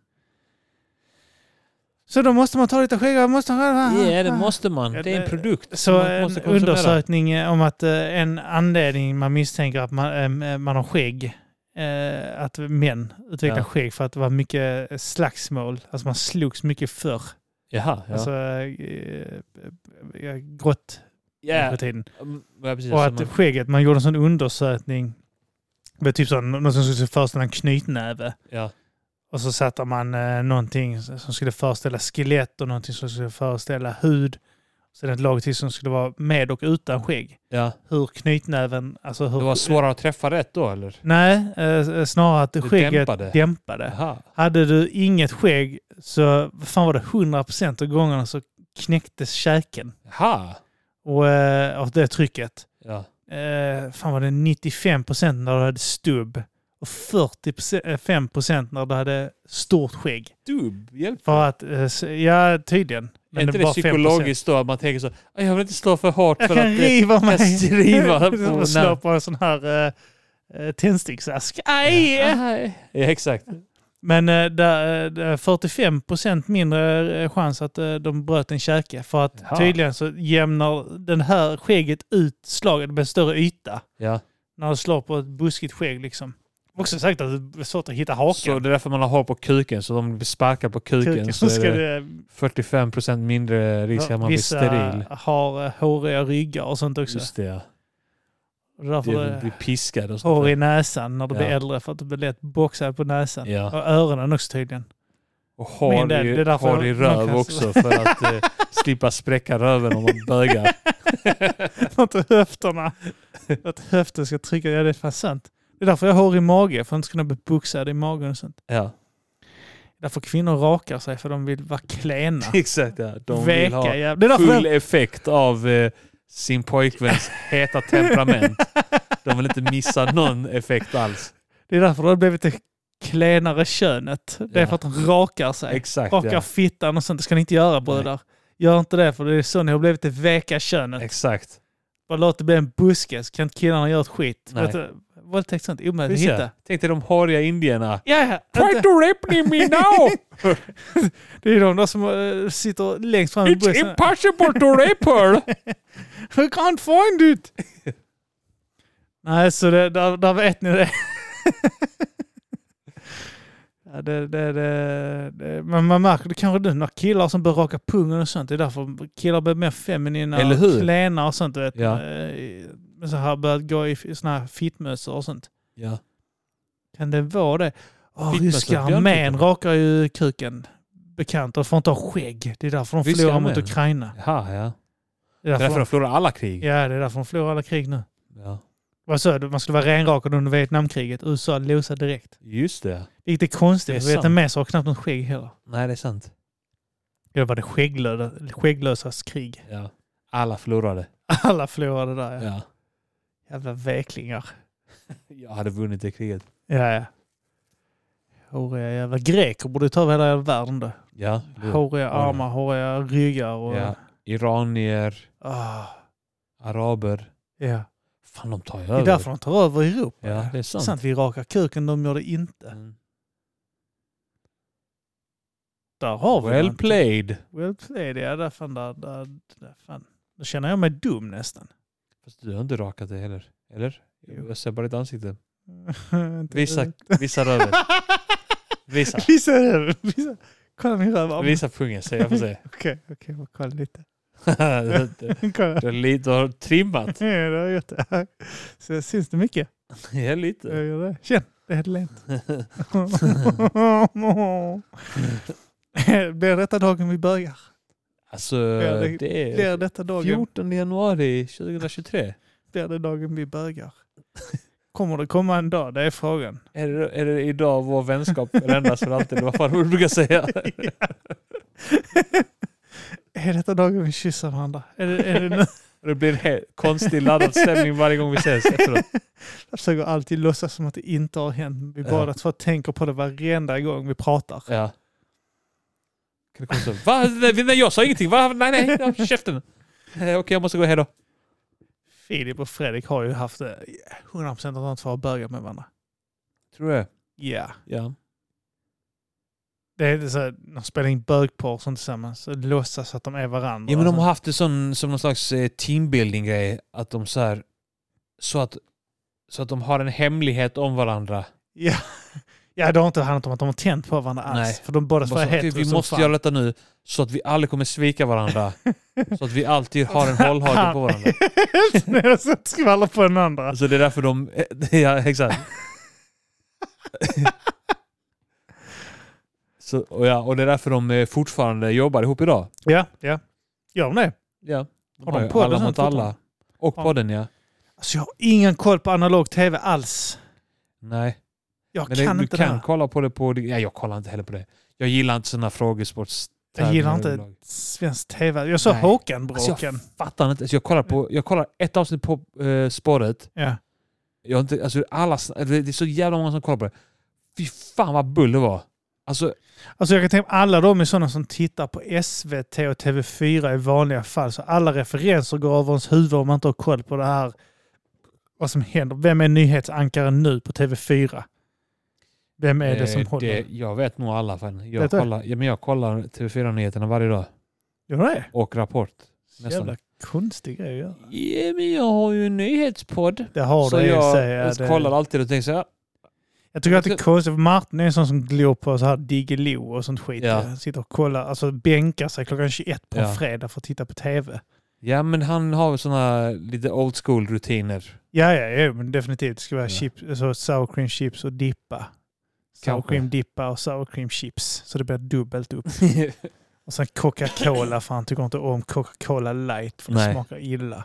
så då måste man ta lite skägg. och Måste...
ja, det måste man.
Ja,
Det är en
det-
produkt. som
Så
man
en
måste konsumera.
undersökning eh, om att eh, en anledning man misstänker att man, eh, man har skägg, eh, att män utvecklar
Ja.
skägg för att det var mycket slagsmål. Alltså man slogs mycket förr.
Jaha, ja.
Alltså eh, eh, grått
ja.
på tiden.
Mm, ja, precis.
Och
Så
att
man-
skägget, man gjorde en sån undersökning. Det var typ så, någon som skulle föreställa en knytnäve.
ja.
Och så satte man eh, någonting som skulle föreställa skelett och någonting som skulle föreställa hud. Sen ett lag till som skulle vara med och utan skägg.
Ja.
Hur knytnäven, alltså hur...
Det var svårare att träffa rätt då, eller?
Nej, eh, snarare att skägget
dämpade.
dämpade.
Jaha.
Hade du inget skägg så, vad fan var det, 100% av gångerna så knäcktes käken.
Jaha.
Och, eh, av det trycket.
Ja.
eh, fan var det 95 procent när du hade stubb och 45 procent när du hade stort skägg.
Dubb, hjälp.
För att, eh, s- ja tydligen.
Mm. är inte det,
var 5%.
psykologiskt då att man tänker så "Aj, jag vill inte slå för hårt
Jag
för
kan
att... eh,
riva mig.
riva på-
och slå på en sån här eh, eh, tändsticksask. Aj!
Ja, exakt.
Men eh, där, eh, där 45 procent mindre eh, chans att eh, de bröt en käke. För att
Jaha.
tydligen så jämnar den här skägget ut slaget med en större yta.
Ja.
när du slår på ett buskigt skägg liksom. Också sagt att det är svårt att hitta haken.
Så det är därför man har hår på kuken, så de blir sparkade på kuken,
Kuken
så är
ska
det
det,
45% mindre risk att man blir
vissa
steril.
har eh, håriga ryggar och sånt också.
Just det, ja.
Och därför
Det
det
blir piskad och sånt.
hår i
där.
näsan när du blir
Ja.
äldre för att du blir lätt boxad på näsan.
Ja.
Och öronen också tydligen.
Och
Min
hår
del, det
i,
är därför
hår i
jag- man
röv
kan-
också för att eh, slippa spräcka röven om man bögar.
Inte höfterna. att höften ska trycka. Ja, det är fan sant. Det är därför jag har hår i mage, för att inte kunna bli boxad i magen och sånt.
Ja,
Därför kvinnor rakar sig, för de vill vara klena.
exakt. Ja. De vill
Veka
ha
jävlar. Det är därför
full
jag
effekt av eh, sin pojkväns heta temperament. De vill inte missa någon effekt alls.
Det är därför det har blivit det klenare könet. Det är
Ja.
för att de rakar sig.
Exakt.
rakar
Ja.
fittan och sånt. Det ska ni inte göra bröder. Gör inte det för det är så ni har blivit det veka könet.
Exakt.
Bara låt det bli en buske så kan inte killarna göra ett skit.
Nej.
Vet du, Våldtäkt sånt är omöjligt att
Precis,
hitta.
ja. Tänk dig de håriga indierna.
Ja, ja.
Try
Inte-
to rape me now!
Det är de där som eh, sitter längst fram i
It's
bussen.
impossible to rape her!
We can't find it! Nej, så det, där, där vet ni det. ja, det, det, det, det. Men man märker det kanske nu när killar som börjar raka pungen och sånt. Det är därför killar blir mer feminina
Eller
och
hur?
klena och sånt. du Vet.
Ja.
Eh, Men så här börjat gå i f- såna här fittmössor och sånt.
Ja.
Kan det vara det? Åh,
Fittmössor,
ryska
björnfittmössor.
armén rakar ju kuken bekant och får inte ha skägg. Det är därför de
Ryska
förlorar mot
armén?
Ukraina.
Jaha, ja.
Det
Det är
är
därför
därför,
de förlorar alla krig.
ja, det är därför de förlorar alla krig nu.
Ja.
Vad sa du? Man skulle vara renrakad under Vietnamkriget. USA losade direkt.
Just det.
Vilket är konstigt.
Det är
för
sant.
Vietnameser har knappt något skägg heller.
Nej, det är sant.
Det var det skägglöda, skägglösas krig.
Ja. Alla förlorade.
Alla förlorade där. Ja.
Ja.
Jävla veklingar.
Jag hade vunnit det kriget.
Ja, ja. Håriga jävla greker borde ta över hela jävla världen då.
Ja. du.
Håriga armar, håriga ryggar och...
ja. Iranier,
Ah,
araber.
ja.
Fan, de tar ju
Det är
över.
därför de tar över Europa.
Ja, det är sant.
Sant, vi rakar kuken, de gör det inte.
Mm.
Där har vi
Well
någonting.
played.
Well played, ja. Där fan, där, där, där fan. Då känner jag mig dum nästan.
Fast du har inte rakat dig heller. Eller?
Jo.
Jag ser bara ditt ansikte.
Inte
Visa,
riktigt.
visa röven. Visa.
Visa röven. Visa. Kolla min röv. Okej,
Visa pungen så jag får se.
okej. jag får kolla lite.
du,
Kolla.
har li- du har trimmat.
Ja, det har jag gjort det. Så jag syns det mycket?
Ja,
Jag
lite.
gör det. Känn, det är helt lent. Blir detta dagen vi börjar?
Alltså,
Ja, det-
det är
Blir detta dagen,
14 januari 2023.
blir det dagen vi bögar? Kommer det komma en dag? Det är frågan.
Är det, är det idag vår vänskap förändras för alltid? Vad fan brukar säga?
Är detta dagen vi kysser varandra? Är det, är det nu?
Det blir en he- konstig laddad stämning varje gång vi ses efteråt.
Jag försöker alltid låtsas som att det inte har hänt. Vi
Ja.
båda två tänker på det varenda gång vi pratar.
Ja. Kan det komma så? Va? Nej, nej, jag sa ingenting. Va? Nej, nej, ja, käften. Eh, Okej, jag måste gå. Hej då.
Filip och Fredrik har ju haft eh, 100% att de två har börjat med varandra.
Tror jag.
Ja.
Ja.
Det är så här, de spelar in bögporr och sånt tillsammans och låtsas att de är varandra. Alltså,
Ja, men de har haft det sån, som någon slags eh, teambuilding-grej. Att de så här... Så att, så att de har en hemlighet om varandra.
ja. ja, det har inte handlat om att de har tänt på varandra alls.
Nej.
För de båda två
Bara
är
så, "Okej,
helt
vi måste göra detta nu så att vi aldrig kommer svika varandra. så att vi alltid har en hållhake på varandra.
varandra. så att skvallra på den andra.
Alltså det är därför de... eh, Ja, exakt. så, och, ja, och det är därför de eh, fortfarande jobbar ihop idag.
Ja, ja. Gör de det?
Ja.
Har de
har ju
podden
alla
sen
mot alla. Och
Ja.
podden ja.
Alltså jag har ingen koll på analog tv alls.
Nej.
Jag
Men
kan
det, du
inte
kan
det här.
kolla på det på... Ja, jag kollar inte heller på det. Jag gillar inte sådana frågesports...
Jag gillar inte
överlag.
svensk tv. Jag såg
Nej. Alltså,
Håkan-bråken.
jag fattar inte. Alltså, jag, kollar på, jag kollar ett avsnitt på eh, spåret.
Ja.
Jag har inte, alltså, alla, sn- det det är så jävla många som kollar på det. Fy fan vad bull det var. Alltså,
Alltså jag kan tänka mig alla de är sådana som tittar på SVT och TV4 i vanliga fall. Så alla referenser går över ens huvud om man inte har koll på det här. Vad som händer. Vem är nyhetsankaren nu på TV4? Vem är det som
eh,
håller?
jag vet nog alla. Fan. Jag,
Vet du?
kollar, ja, men jag kollar TV4-nyheterna varje dag.
Gör det?
Och Rapport. Nästan.
Jävla konstig grej att göra.
Ja, men jag har ju en nyhetspodd.
Det har
så
det i
jag
sig. Ja, det-
kollar alltid och tänker så här.
Jag tycker att det är konstigt, för Martin är en sån som glor på så här Diggiloo och sånt skit.
Ja.
Han Sitter och kollar, alltså bänkar sig klockan 21 på en
Ja.
fredag för att titta på tv.
Ja men han har sådana lite old school rutiner.
Ja, ja, ja men definitivt. Det ska vara
Ja.
chips, alltså sour cream chips och dippa. Sour
Kanske.
cream dippa och sour cream chips. Så det blir dubbelt upp. Och sen Coca-Cola, för han tycker inte om Coca-Cola light för det
Nej.
smakar illa.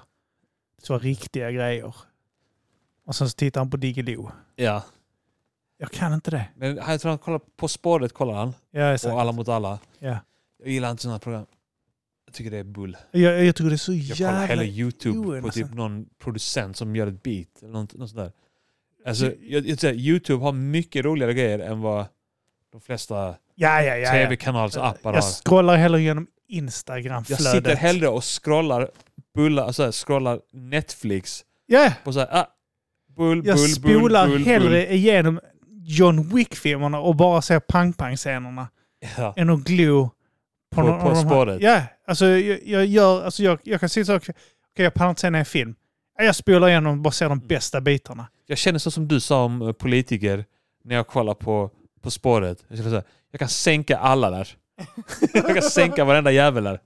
Så var riktiga grejer. Och sen så tittar han på Diggiloo.
ja.
Jag kan inte det.
Men jag tror han kollar På spåret kollar han.
Ja, exakt.
Och Alla mot alla.
Ja.
Jag gillar inte sådana program. Jag tycker det är bull.
Jag, jag tycker det är så
Jag
jävla...
kollar hellre YouTube
Joel,
på typ
alltså.
någon producent som gör ett beat eller något, något sånt där. Alltså,
Ju-
jag, jag, säger, YouTube har mycket roligare grejer än vad de flesta
Ja, ja, ja. ja.
tv-kanalsappar har.
Jag scrollar hellre genom
Jag
Instagram-flödet.
sitter hellre och scrollar, bullar, alltså här, scrollar Netflix
Ja,
på så här, ah, bull, bull,
jag
bull,
spolar
bull, bull.
hellre igenom John Wick-filmerna och bara ser pang-pang-scenerna
Ja.
än att glo på,
På-
någon
på
av de här-
spåret.
Ja, alltså jag, jag gör... Alltså jag, jag kan sitta och... Okej, jag pallar inte se en film. Ja, Jag spolar igenom och bara ser
Mm.
de bästa bitarna.
Jag känner så som du sa om eh, politiker när jag kollar på På spåret. Jag, känner så här, jag kan sänka alla där. jag kan sänka varenda jävel där.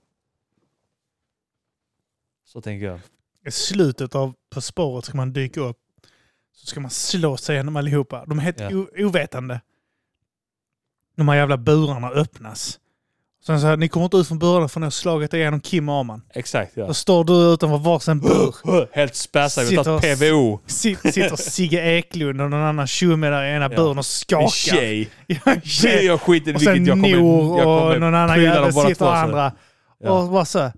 Så tänker jag.
I slutet av På spåret ska man dyka upp. Så ska man slå sig igenom allihopa. De är helt
Ja.
o- ovetande. De här jävla burarna öppnas. Sen så här, ni kommer inte ut från burarna förrän ni har slagit igenom Kim och Arman.
Exakt ja.
Då står du utanför varsin bur.
Helt späsad. Vi har tagit
Sitter-
PVO.
Sit- Sitter Sigge Eklund och någon annan tjomme där i ena
Ja.
buren och
En
skakar.
tjej.
Ja, en
Tjej,
tjej.
Jag skiter i
Och sen
vilket. Jag kommer,
Nor
jag
och
kommer
någon annan
pryla dem
jävel
båda två,
sitter och
så här.
andra.
Ja.
Och bara så. här,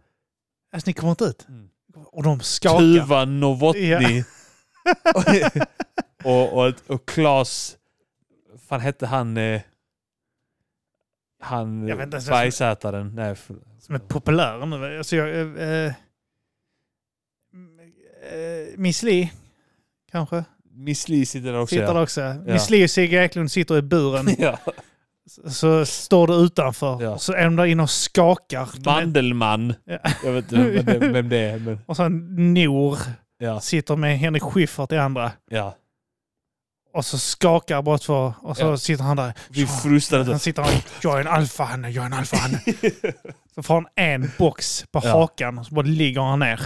Alltså ni kommer inte ut.
Mm.
Och de skakar.
Tuva Novotny. och, och, och Klas... fan hette han... Eh, han
Jag vet inte ens vad som-
Bergsätaren. Nej, för,
Som är populär nu. Alltså jag... eh, eh, eh, Miss Li, kanske?
Miss Li sitter där också.
Sitter
ja.
där också. Miss Li och Sigge Eklund sitter i buren.
Ja.
så står du utanför.
Ja.
Och så är de där inne och skakar. De är-
Mandelmann.
Ja.
Jag vet inte vem det, vem det är. Men,
Och sen Nor
ja.
sitter med Henrik Schyffert i andra.
Ja.
Och så skakar bara två och så
Ja.
sitter han där.
Vi frustade
Han
inte.
sitter där. Jag är en alfahanne, jag är en alfahanne. så får han en box på
Ja.
hakan och så bara ligger han ner.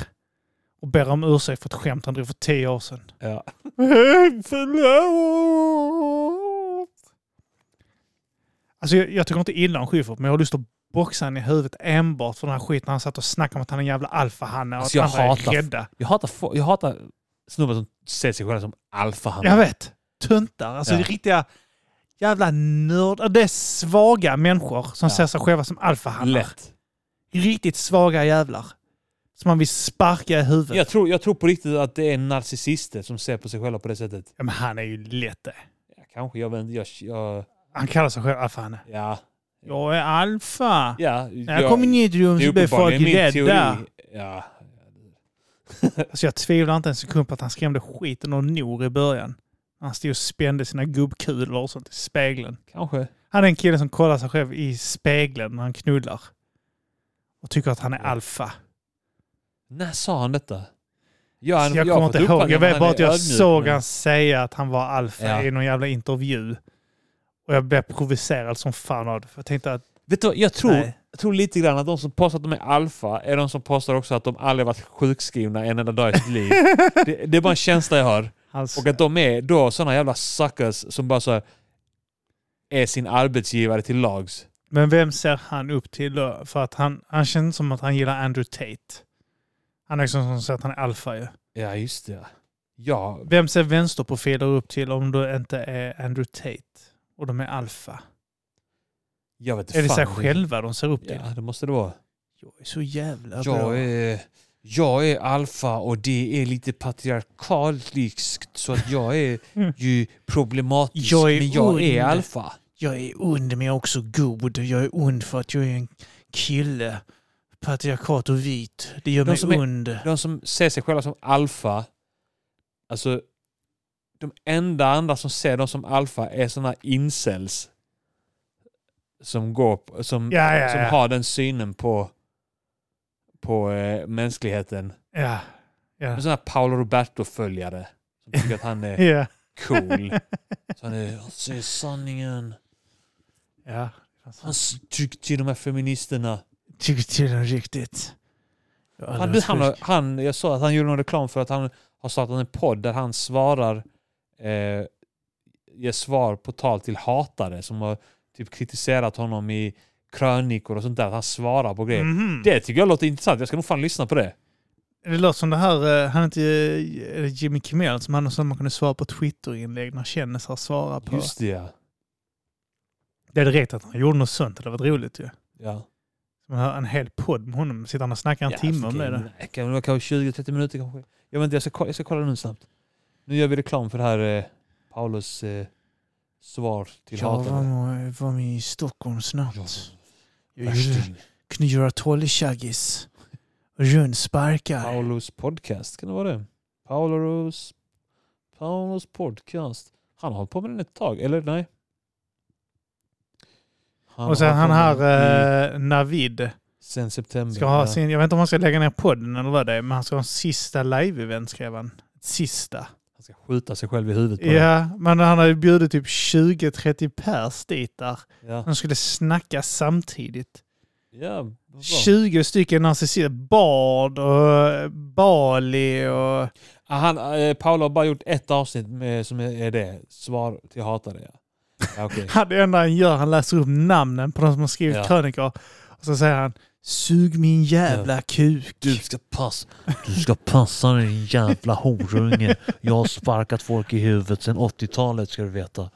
Och ber om ursäkt för ett skämt han drog för tio år sedan.
Ja.
Alltså jag, jag tycker inte illa om Schyffert men jag har lust att boxade han i huvudet enbart för den här skiten. Han satt och snackade om att han är en jävla alfahanne och
Alltså, jag
att andra
hatar-
är rädda.
Jag hatar, fo- jag hatar snubbar som ser sig själva som alfahannar.
Jag vet. Tuntar. Alltså
Ja.
det är riktiga jävla nördar. Det är svaga människor som
Ja.
ser sig själva som alfahannar.
Lätt.
Riktigt svaga jävlar. Som man vill sparka i huvudet.
Jag tror, jag tror på riktigt att det är narcissister som ser på sig själva på det sättet.
Ja, men han är ju lätt det.
Ja, kanske, jag vet inte. Jag, jag,
Han kallar sig själv alfahanne.
ja.
Jag är alfa.
ja
När jag kom in i ett rum så blev folk rädda.
Ja.
Alltså jag tvivlar inte en sekund på att han skrämde skiten och Nor i början. Han stod och spände sina gubbkulor och sånt i spegeln.
Kanske.
Han är en kille som kollar sig själv i spegeln när han knullar. Och tycker att han är alfa.
När sa han detta? Ja,
Så
han-
jag
har
kommer
fått
inte ihåg.
uppfattningen
Jag
att
vet
han
bara
är
att jag
ödmjuk,
såg
men-
han säga att han var alfa
Ja.
i någon jävla intervju. Och jag blev provocerad som fan av det. För jag tänkte att
Vet du, vad, jag tror,
Nej.
jag tror lite grann att de som påstår att de är alfa är de som påstår också att de aldrig varit sjukskrivna en enda dag i sitt liv. det, det är bara en känsla jag har.
hans...
Och att de är då sådana jävla suckers som bara så här, är sin arbetsgivare till lags.
Men vem ser han upp till då? För att han, han känns som att han gillar Andrew Tate. Han är liksom som säger att han är alfa ju.
Ja, just det. Ja,
Vem ser vänsterprofiler upp till om du inte är Andrew Tate? Och de är alfa.
jag vet
Är det sig
fan.
själva de ser upp till?
Ja, det måste det vara.
Jag är så jävla bra.
Jag är, jag är alfa och det är lite patriarkaliskt så att jag är ju problematisk.
Mm. Jag är
men jag är
ond.
alfa.
Jag är ond men jag är också god. Jag är ond för att jag är en kille. Patriarkat och vit. Det gör
De
mig
som är-
ond.
De som ser sig själva som alfa, alltså de enda andra som ser dem som alfa är sådana incels som, går, på- som,
Ja, ja,
som
ja.
har den synen på, på eh, mänskligheten.
Ja. Ja.
Sådana Paolo Roberto-följare som tycker att han är
Ja.
cool. Så han, är, han säger sanningen.
ja.
Han tycker till de här feministerna.
Tycker till den riktigt. Jag är
Han, du,
alldeles
han,
sjuk.
har- han, jag sa att han gjorde någon reklam för att han har startat en podd där han svarar, eh, ger svar på tal till hatare som har typ kritiserat honom i krönikor och sånt där. Att han svarar på grejer.
Mhm.
Det tycker jag låter intressant. Jag ska nog fan lyssna på det.
Det låter som det här, eh, han är inte eh, är det Jimmy Kimmel som han som man kunde svara på Twitterinlägg när kändisar svarar på.
Just det ja.
Det är direkt att han gjorde något sånt, det hade varit roligt ju.
ja.
Man hör en hel podd med honom, sitter han och snackar en timme om alltså, det. då.
Det kan vara kanske 20-30 minuter kanske. Jag, vet inte, jag, ska, ko- jag ska kolla nu snabbt. Nu gör vi reklam för det här eh, Paulus eh, svar till
Jag var,
hatare.
med- var med i Stockholm snabbt. Jag gjorde-
Värsting.
kunde göra tolvtjaggis. Rundsparkar.
Paulus podcast, kan det vara det? Paulus, Paulus podcast. Han har hållit på med den ett tag, eller nej? Han
Och sen
har
han Mm.
hållit på med den i-
här eh, Navid.
Sen september.
Ska ha
ja.
sin, jag vet inte om han ska lägga ner podden eller vad det är, men han ska ha en sista live-event skrev han. Ett Sista.
Han ska skjuta sig själv i huvudet på
Ja, men han har ju bjudit typ 20-30 pers dit där.
det. Ja.
De skulle snacka samtidigt.
ja vad bra.
20 stycken narcissister. Bard och Bali och...
Ah, han, eh, Paolo har bara gjort ett avsnitt med, som är är det. Svar till hatare. Ja. Ja, okej.
Han, det enda han gör, han läser upp namnen på de som har skrivit
Ja.
krönikor. Och så säger han Sug min jävla kuk.
Du ska passa, du ska passa din jävla horunge. Jag har sparkat folk i huvudet sedan 80-talet ska du veta.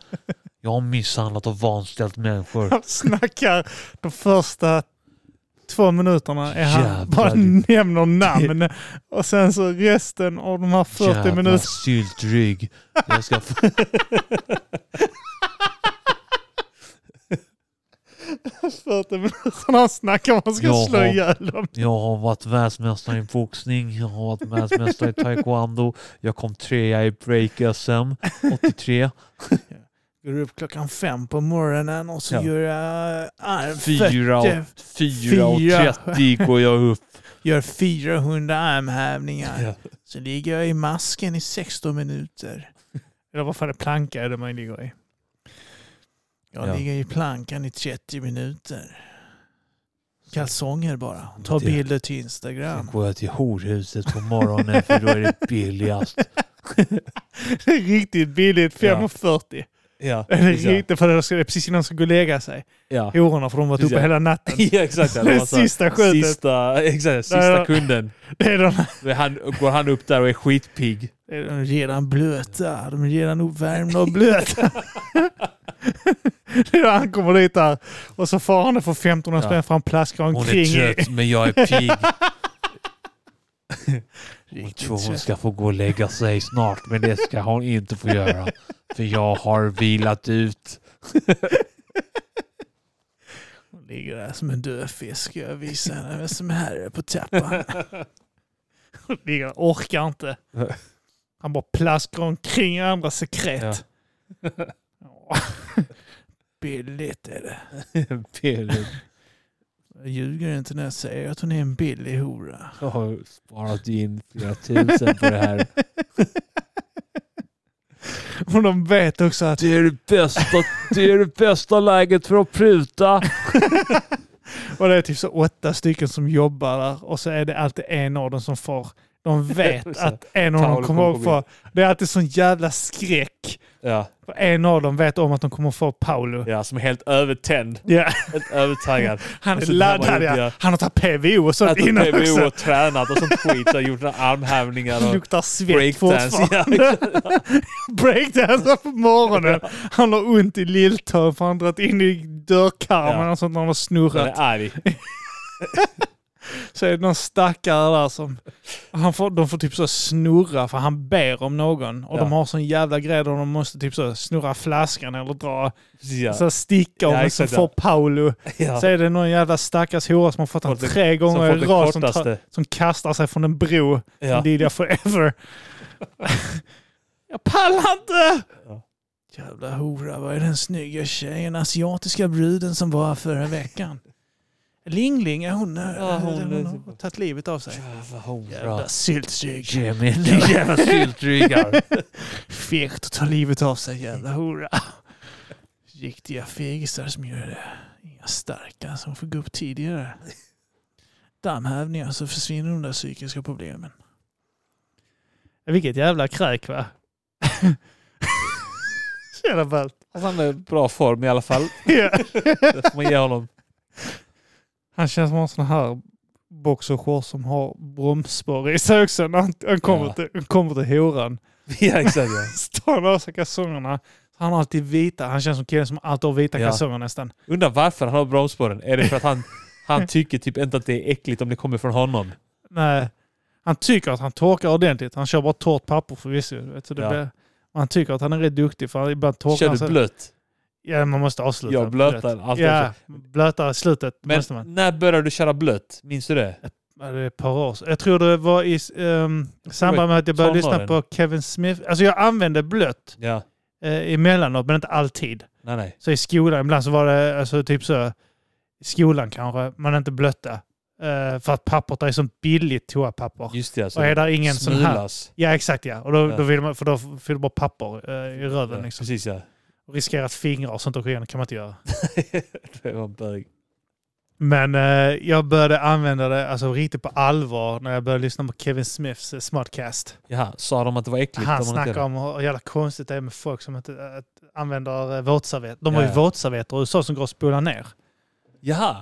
Jag har misshandlat och vanställt människor.
Han snackar de första två minuterna. Är
Jävlar,
han bara
du-
nämner namn. Och sen så resten av de här 40
Jävla
minuterna.
syltrygg. Jag ska f-
minuterna han snackar om att han ska
Jaha.
slå ihjäl dem.
Jag har varit världsmästare i boxning, jag har varit världsmästare i taekwondo, jag kom trea i break-SM 83,
Går upp klockan fem på morgonen och så
Ja.
gör jag arm,
Fyra och-
fötter-
Fyra och
Fyra.
30 går jag upp.
gör 400 armhävningar.
Ja.
Så ligger jag i masken i 16 minuter. Eller vad fan är planka är det man ligger i? Jag
Ja.
ligger i plankan i 30 minuter. Kalsonger bara. Ta
Det-
bilder till Instagram.
sen går jag till horhuset på morgonen för då är det billigast.
Riktigt billigt,
Ja.
5,40.
Ja,
Eller
ja.
inte, för det var precis innan de skulle gå och lägga sig.
ja.
Hororna, för de har varit uppe
Ja.
hela natten.
ja exakt. Det var så här,
Sista skjutet.
Sista, exakt,
Där
sista
var-
kunden.
Det är de,
Då är han, går han upp där och är skitpigg.
det är de redan blöta. De är redan uppvärmda och blöta. det är då han kommer dit där och så far han och får 1500
Ja.
spänn för han plaskar
Hon är
omkring.
trött men jag är pigg. Hon
Riktigt
tror hon
trött.
ska få gå och lägga sig snart men det ska hon inte få göra. För jag har vilat ut.
Hon ligger där som en död fisk. Jag visar henne vem som är herre på trappan. Hon ligger där, orkar inte. Han bara plaskar omkring i andra sekret. Ja. Billigt är det.
Peter
Jag ljuger inte när jag säger att hon är en billig hora.
har sparat in flera tusen på det här.
Och de vet också att
Det är det bästa, det är det bästa läget för att pruta.
och det är typ så åtta stycken som jobbar där och så är det alltid en av dem som får de vet
Så här,
att en av dem
Paolo
kommer att
kommer
få... Det är alltid sån jävla skräck.
Ja,
För En av dem vet om att de kommer att få Paolo.
ja, som är helt övertänd.
Ja.
Helt övertaggad.
Han är
Och så drabbar
laddad
han upp,
ja. Han har tagit PVO och sånt
Ätit
innan
PBO
också.
och tränat och sånt skit. Så har gjort några armhävningar och
Luktar svett
breakdance.
fortfarande.
Ja,
Breakdance på morgonen. Han har ont i lilltån för han har dragit in i dörrkarmen
Ja.
och sånt när han har
han
snurrat.
är arg.
Så är det någon stackare där som... Han får, de får typ så snurra för han ber om någon. Och
Ja.
de har sån jävla grej där de måste typ så snurra flaskan eller dra
Ja.
så här sticka om
Ja,
och så
exakt,
får
ja.
Paolo.
Ja.
Så är det någon jävla stackars hora som har fått honom
Fått det-
tre
som
gånger
fått
i
det
rad som, tar-
kortaste.
som kastar sig från en bro.
Ja.
Lydia forever. jag pallar inte!
Ja.
Jävla hora, var är den snygga tjejen? Asiatiska bruden som var här förra veckan. Lingling, är hon,
Ja,
ja,
hon
hon,
är typ-
har tagit livet av sig.
Jävla hora.
Jävla syltrygg.
Ge mig en ny jävla syltryggar.
Fegt att ta livet av sig, jävla hora. Riktiga fegisar som gör det. Inga starka som får gå upp tidigare. Dammhävningar så försvinner de där psykiska problemen. Vilket jävla kräk va? Så jävla ballt.
Alltså, Han är i bra form i alla fall.
Ja.
Det får man ge honom.
Han känns som en sån här boxershorts som har bromsspår i sig också. När han, han kommer,
Ja.
till, han kommer till horan.
Ja, exakt. Ja.
Står han av sig kalsongerna. Han har alltid vita. Han känns som killen som alltid har vita
Ja.
kalsonger nästan.
Undrar varför han har bromsspåren. Är det för att han, han tycker typ inte att det är äckligt om det kommer från honom?
Nej. Han tycker att han torkar ordentligt. Han kör bara torrt papper förvisso. du vet, Så det
Ja.
blir, men han tycker att han är rätt duktig för ibland torkar
Kör
han
du blött?
Ja, man måste avsluta.
Jag blötar
du vet.
alltid.
Ja, blöta slutet
Men
måste man.
när började du köra blött? Minns du det?
Ja, det är ett par år sedan. Jag tror det var i um, samband med att jag började lyssna
tonåren.
på Kevin Smith. Alltså jag använde blött
Ja.
eh, emellanåt, men inte alltid.
Nej, nej.
Så i skolan, ibland så var det alltså, typ så, i skolan kanske, man inte blötta. Eh, för att pappret är så billigt toapapper.
Just det. Alltså.
Och är där ingen sån här
Smulas.
Ja, exakt ja. Och då,
Ja.
Då vill man, för då fyller man bara papper eh, i röven.
Ja,
liksom.
precis ja.
Och riskerar att fingrar och sånt åker igenom. Det kan man inte göra.
Det var en bög.
Men eh, jag började använda det alltså, riktigt på allvar när jag började lyssna på Kevin Smiths eh, Smartcast.
Jaha, sa de att det var äckligt?
Han
om man inte
snackar
gör
om hur jävla konstigt det är med folk som inte att, använder eh, våtservetter. De har
Ja,
ju
ja.
våtservetter i USA som går att spola ner.
det? Jaha,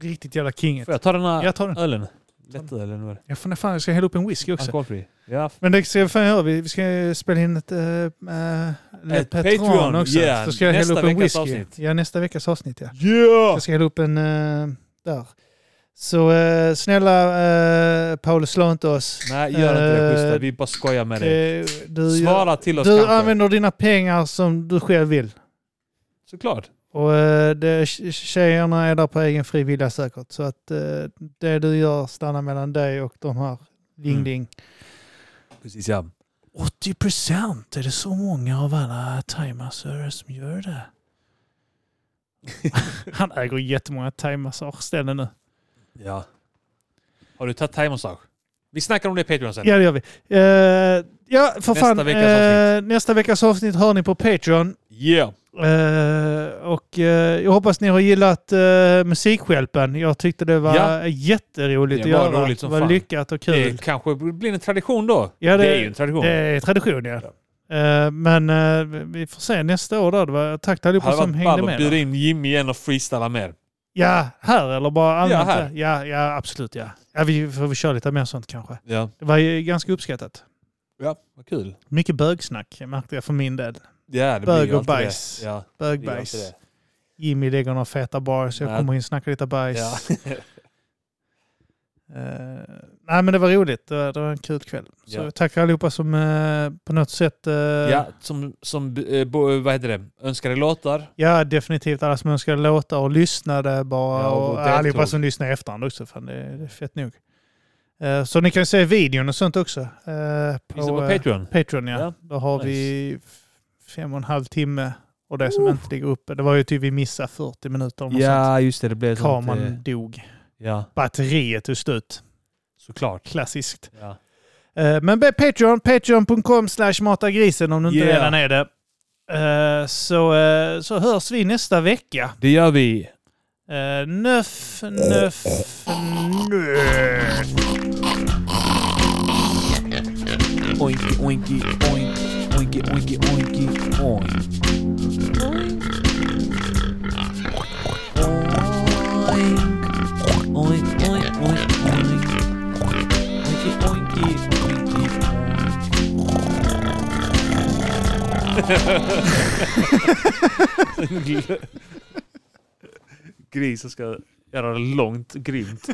Riktigt jävla kinget.
får jag ta den här
Jag tar den.
ölen? Lättölen var det.
Jag, får, fan, jag ska hälla upp en whisky också.
Alkoholfri. Ja.
Men det ska jag fan göra. Vi, vi ska spela in ett, äh, ett Patreon,
Patreon,
också.
yeah.
Så ska jag
Nästa
hälla upp en
veckas
whisky.
avsnitt.
Ja, nästa veckas avsnitt ja.
Yeah!
Jag ska hälla upp en eh, där. Så eh, snälla eh, Paolo, slå inte oss.
Nej, gör inte det
Eh,
Gustav. Vi bara skojar med dig.
Eh, du
Svara till oss
du
kanske.
använder dina pengar som du själv vill.
Såklart.
Och eh, det, tjejerna är där på egen fri vilja säkert. Så att eh, det du gör stannar mellan dig och de här. Ding
Mm.
ding.
Precis ja.
80 procent? Är det så många av alla thaimassörer som gör det? Han äger jättemånga thaimassageställen nu.
ja. Har du tagit thaimassage? Vi snackar om det i Patreon sen.
Ja, det gör vi. Eh, ja,
Nästa
för fan.
veckas
eh, nästa veckas avsnitt hör ni på Patreon.
Yeah.
Eh, och eh, jag hoppas ni har gillat eh, Musikhjälpen. Jag tyckte det var
Ja.
jätteroligt
Det var
att göra.
roligt som
det var
fan.
lyckat och kul.
Det kanske blir en tradition då.
Ja, det-
det är ju en tradition.
Det är tradition, ja. Eh, men eh, vi- vi får se nästa år då. Det var, tack till allihopa
Hade
som
varit
hängde
ball att
med.
bjuda
då.
in Jimmy igen och freestyla mer.
Ja, här eller bara allmänt.
här.
Ja, ja, ja absolut ja. ja vi får vi köra lite mer sånt kanske.
Ja,
Det var ju ganska uppskattat.
ja vad kul.
Mycket bögsnack märkte jag för min del.
Ja, det
Bög
blir ju
och
alltid
bajs.
Det. Ja, det blir ju alltid
Bögbajs.
det.
Jimmy lägger några feta bars. Jag
Nej.
kommer in snacka lite bajs.
Ja.
Eh, nej men det var roligt. Det var, det var en kul kväll. Så
Ja.
tack allihopa som eh, på något sätt... eh,
ja, som, som eh, bo- vad heter det? önskade låtar.
ja, definitivt alla som önskade låta och lyssnade bara.
Ja, och
och
deltog.
allihopa som lyssnade i efterhand också. Fan, det, det är fett nog. Eh, så ni kan ju se videon och sånt också. eh, på,
Finns det på
eh,
Patreon?
Patreon ja.
Ja,
Då har vi f- fem och en halv timme. Och det som inte ligger uppe, det var ju typ vi missade 40 minuter. Om ja,
Ja, just det. Det blev sånt.
Kameran
eh,
dog.
Ja,
Batteriet tog slut.
såklart.
Klassiskt.
Ja.
Eh, Men be Patreon, patreon.com slash matagrisen om du inte
Yeah.
redan är det. Eh, Så, eh, så hörs vi nästa vecka.
Det gör vi.
Eh, Nöff, nöff, nöff.
Oinki, oinki, oink. Oinki, oinki, oinki, oink. Oink. Oink, oink, oink, oink. Oinki, oinki, oinki, oink.
Grisen ska göra det långt grymt.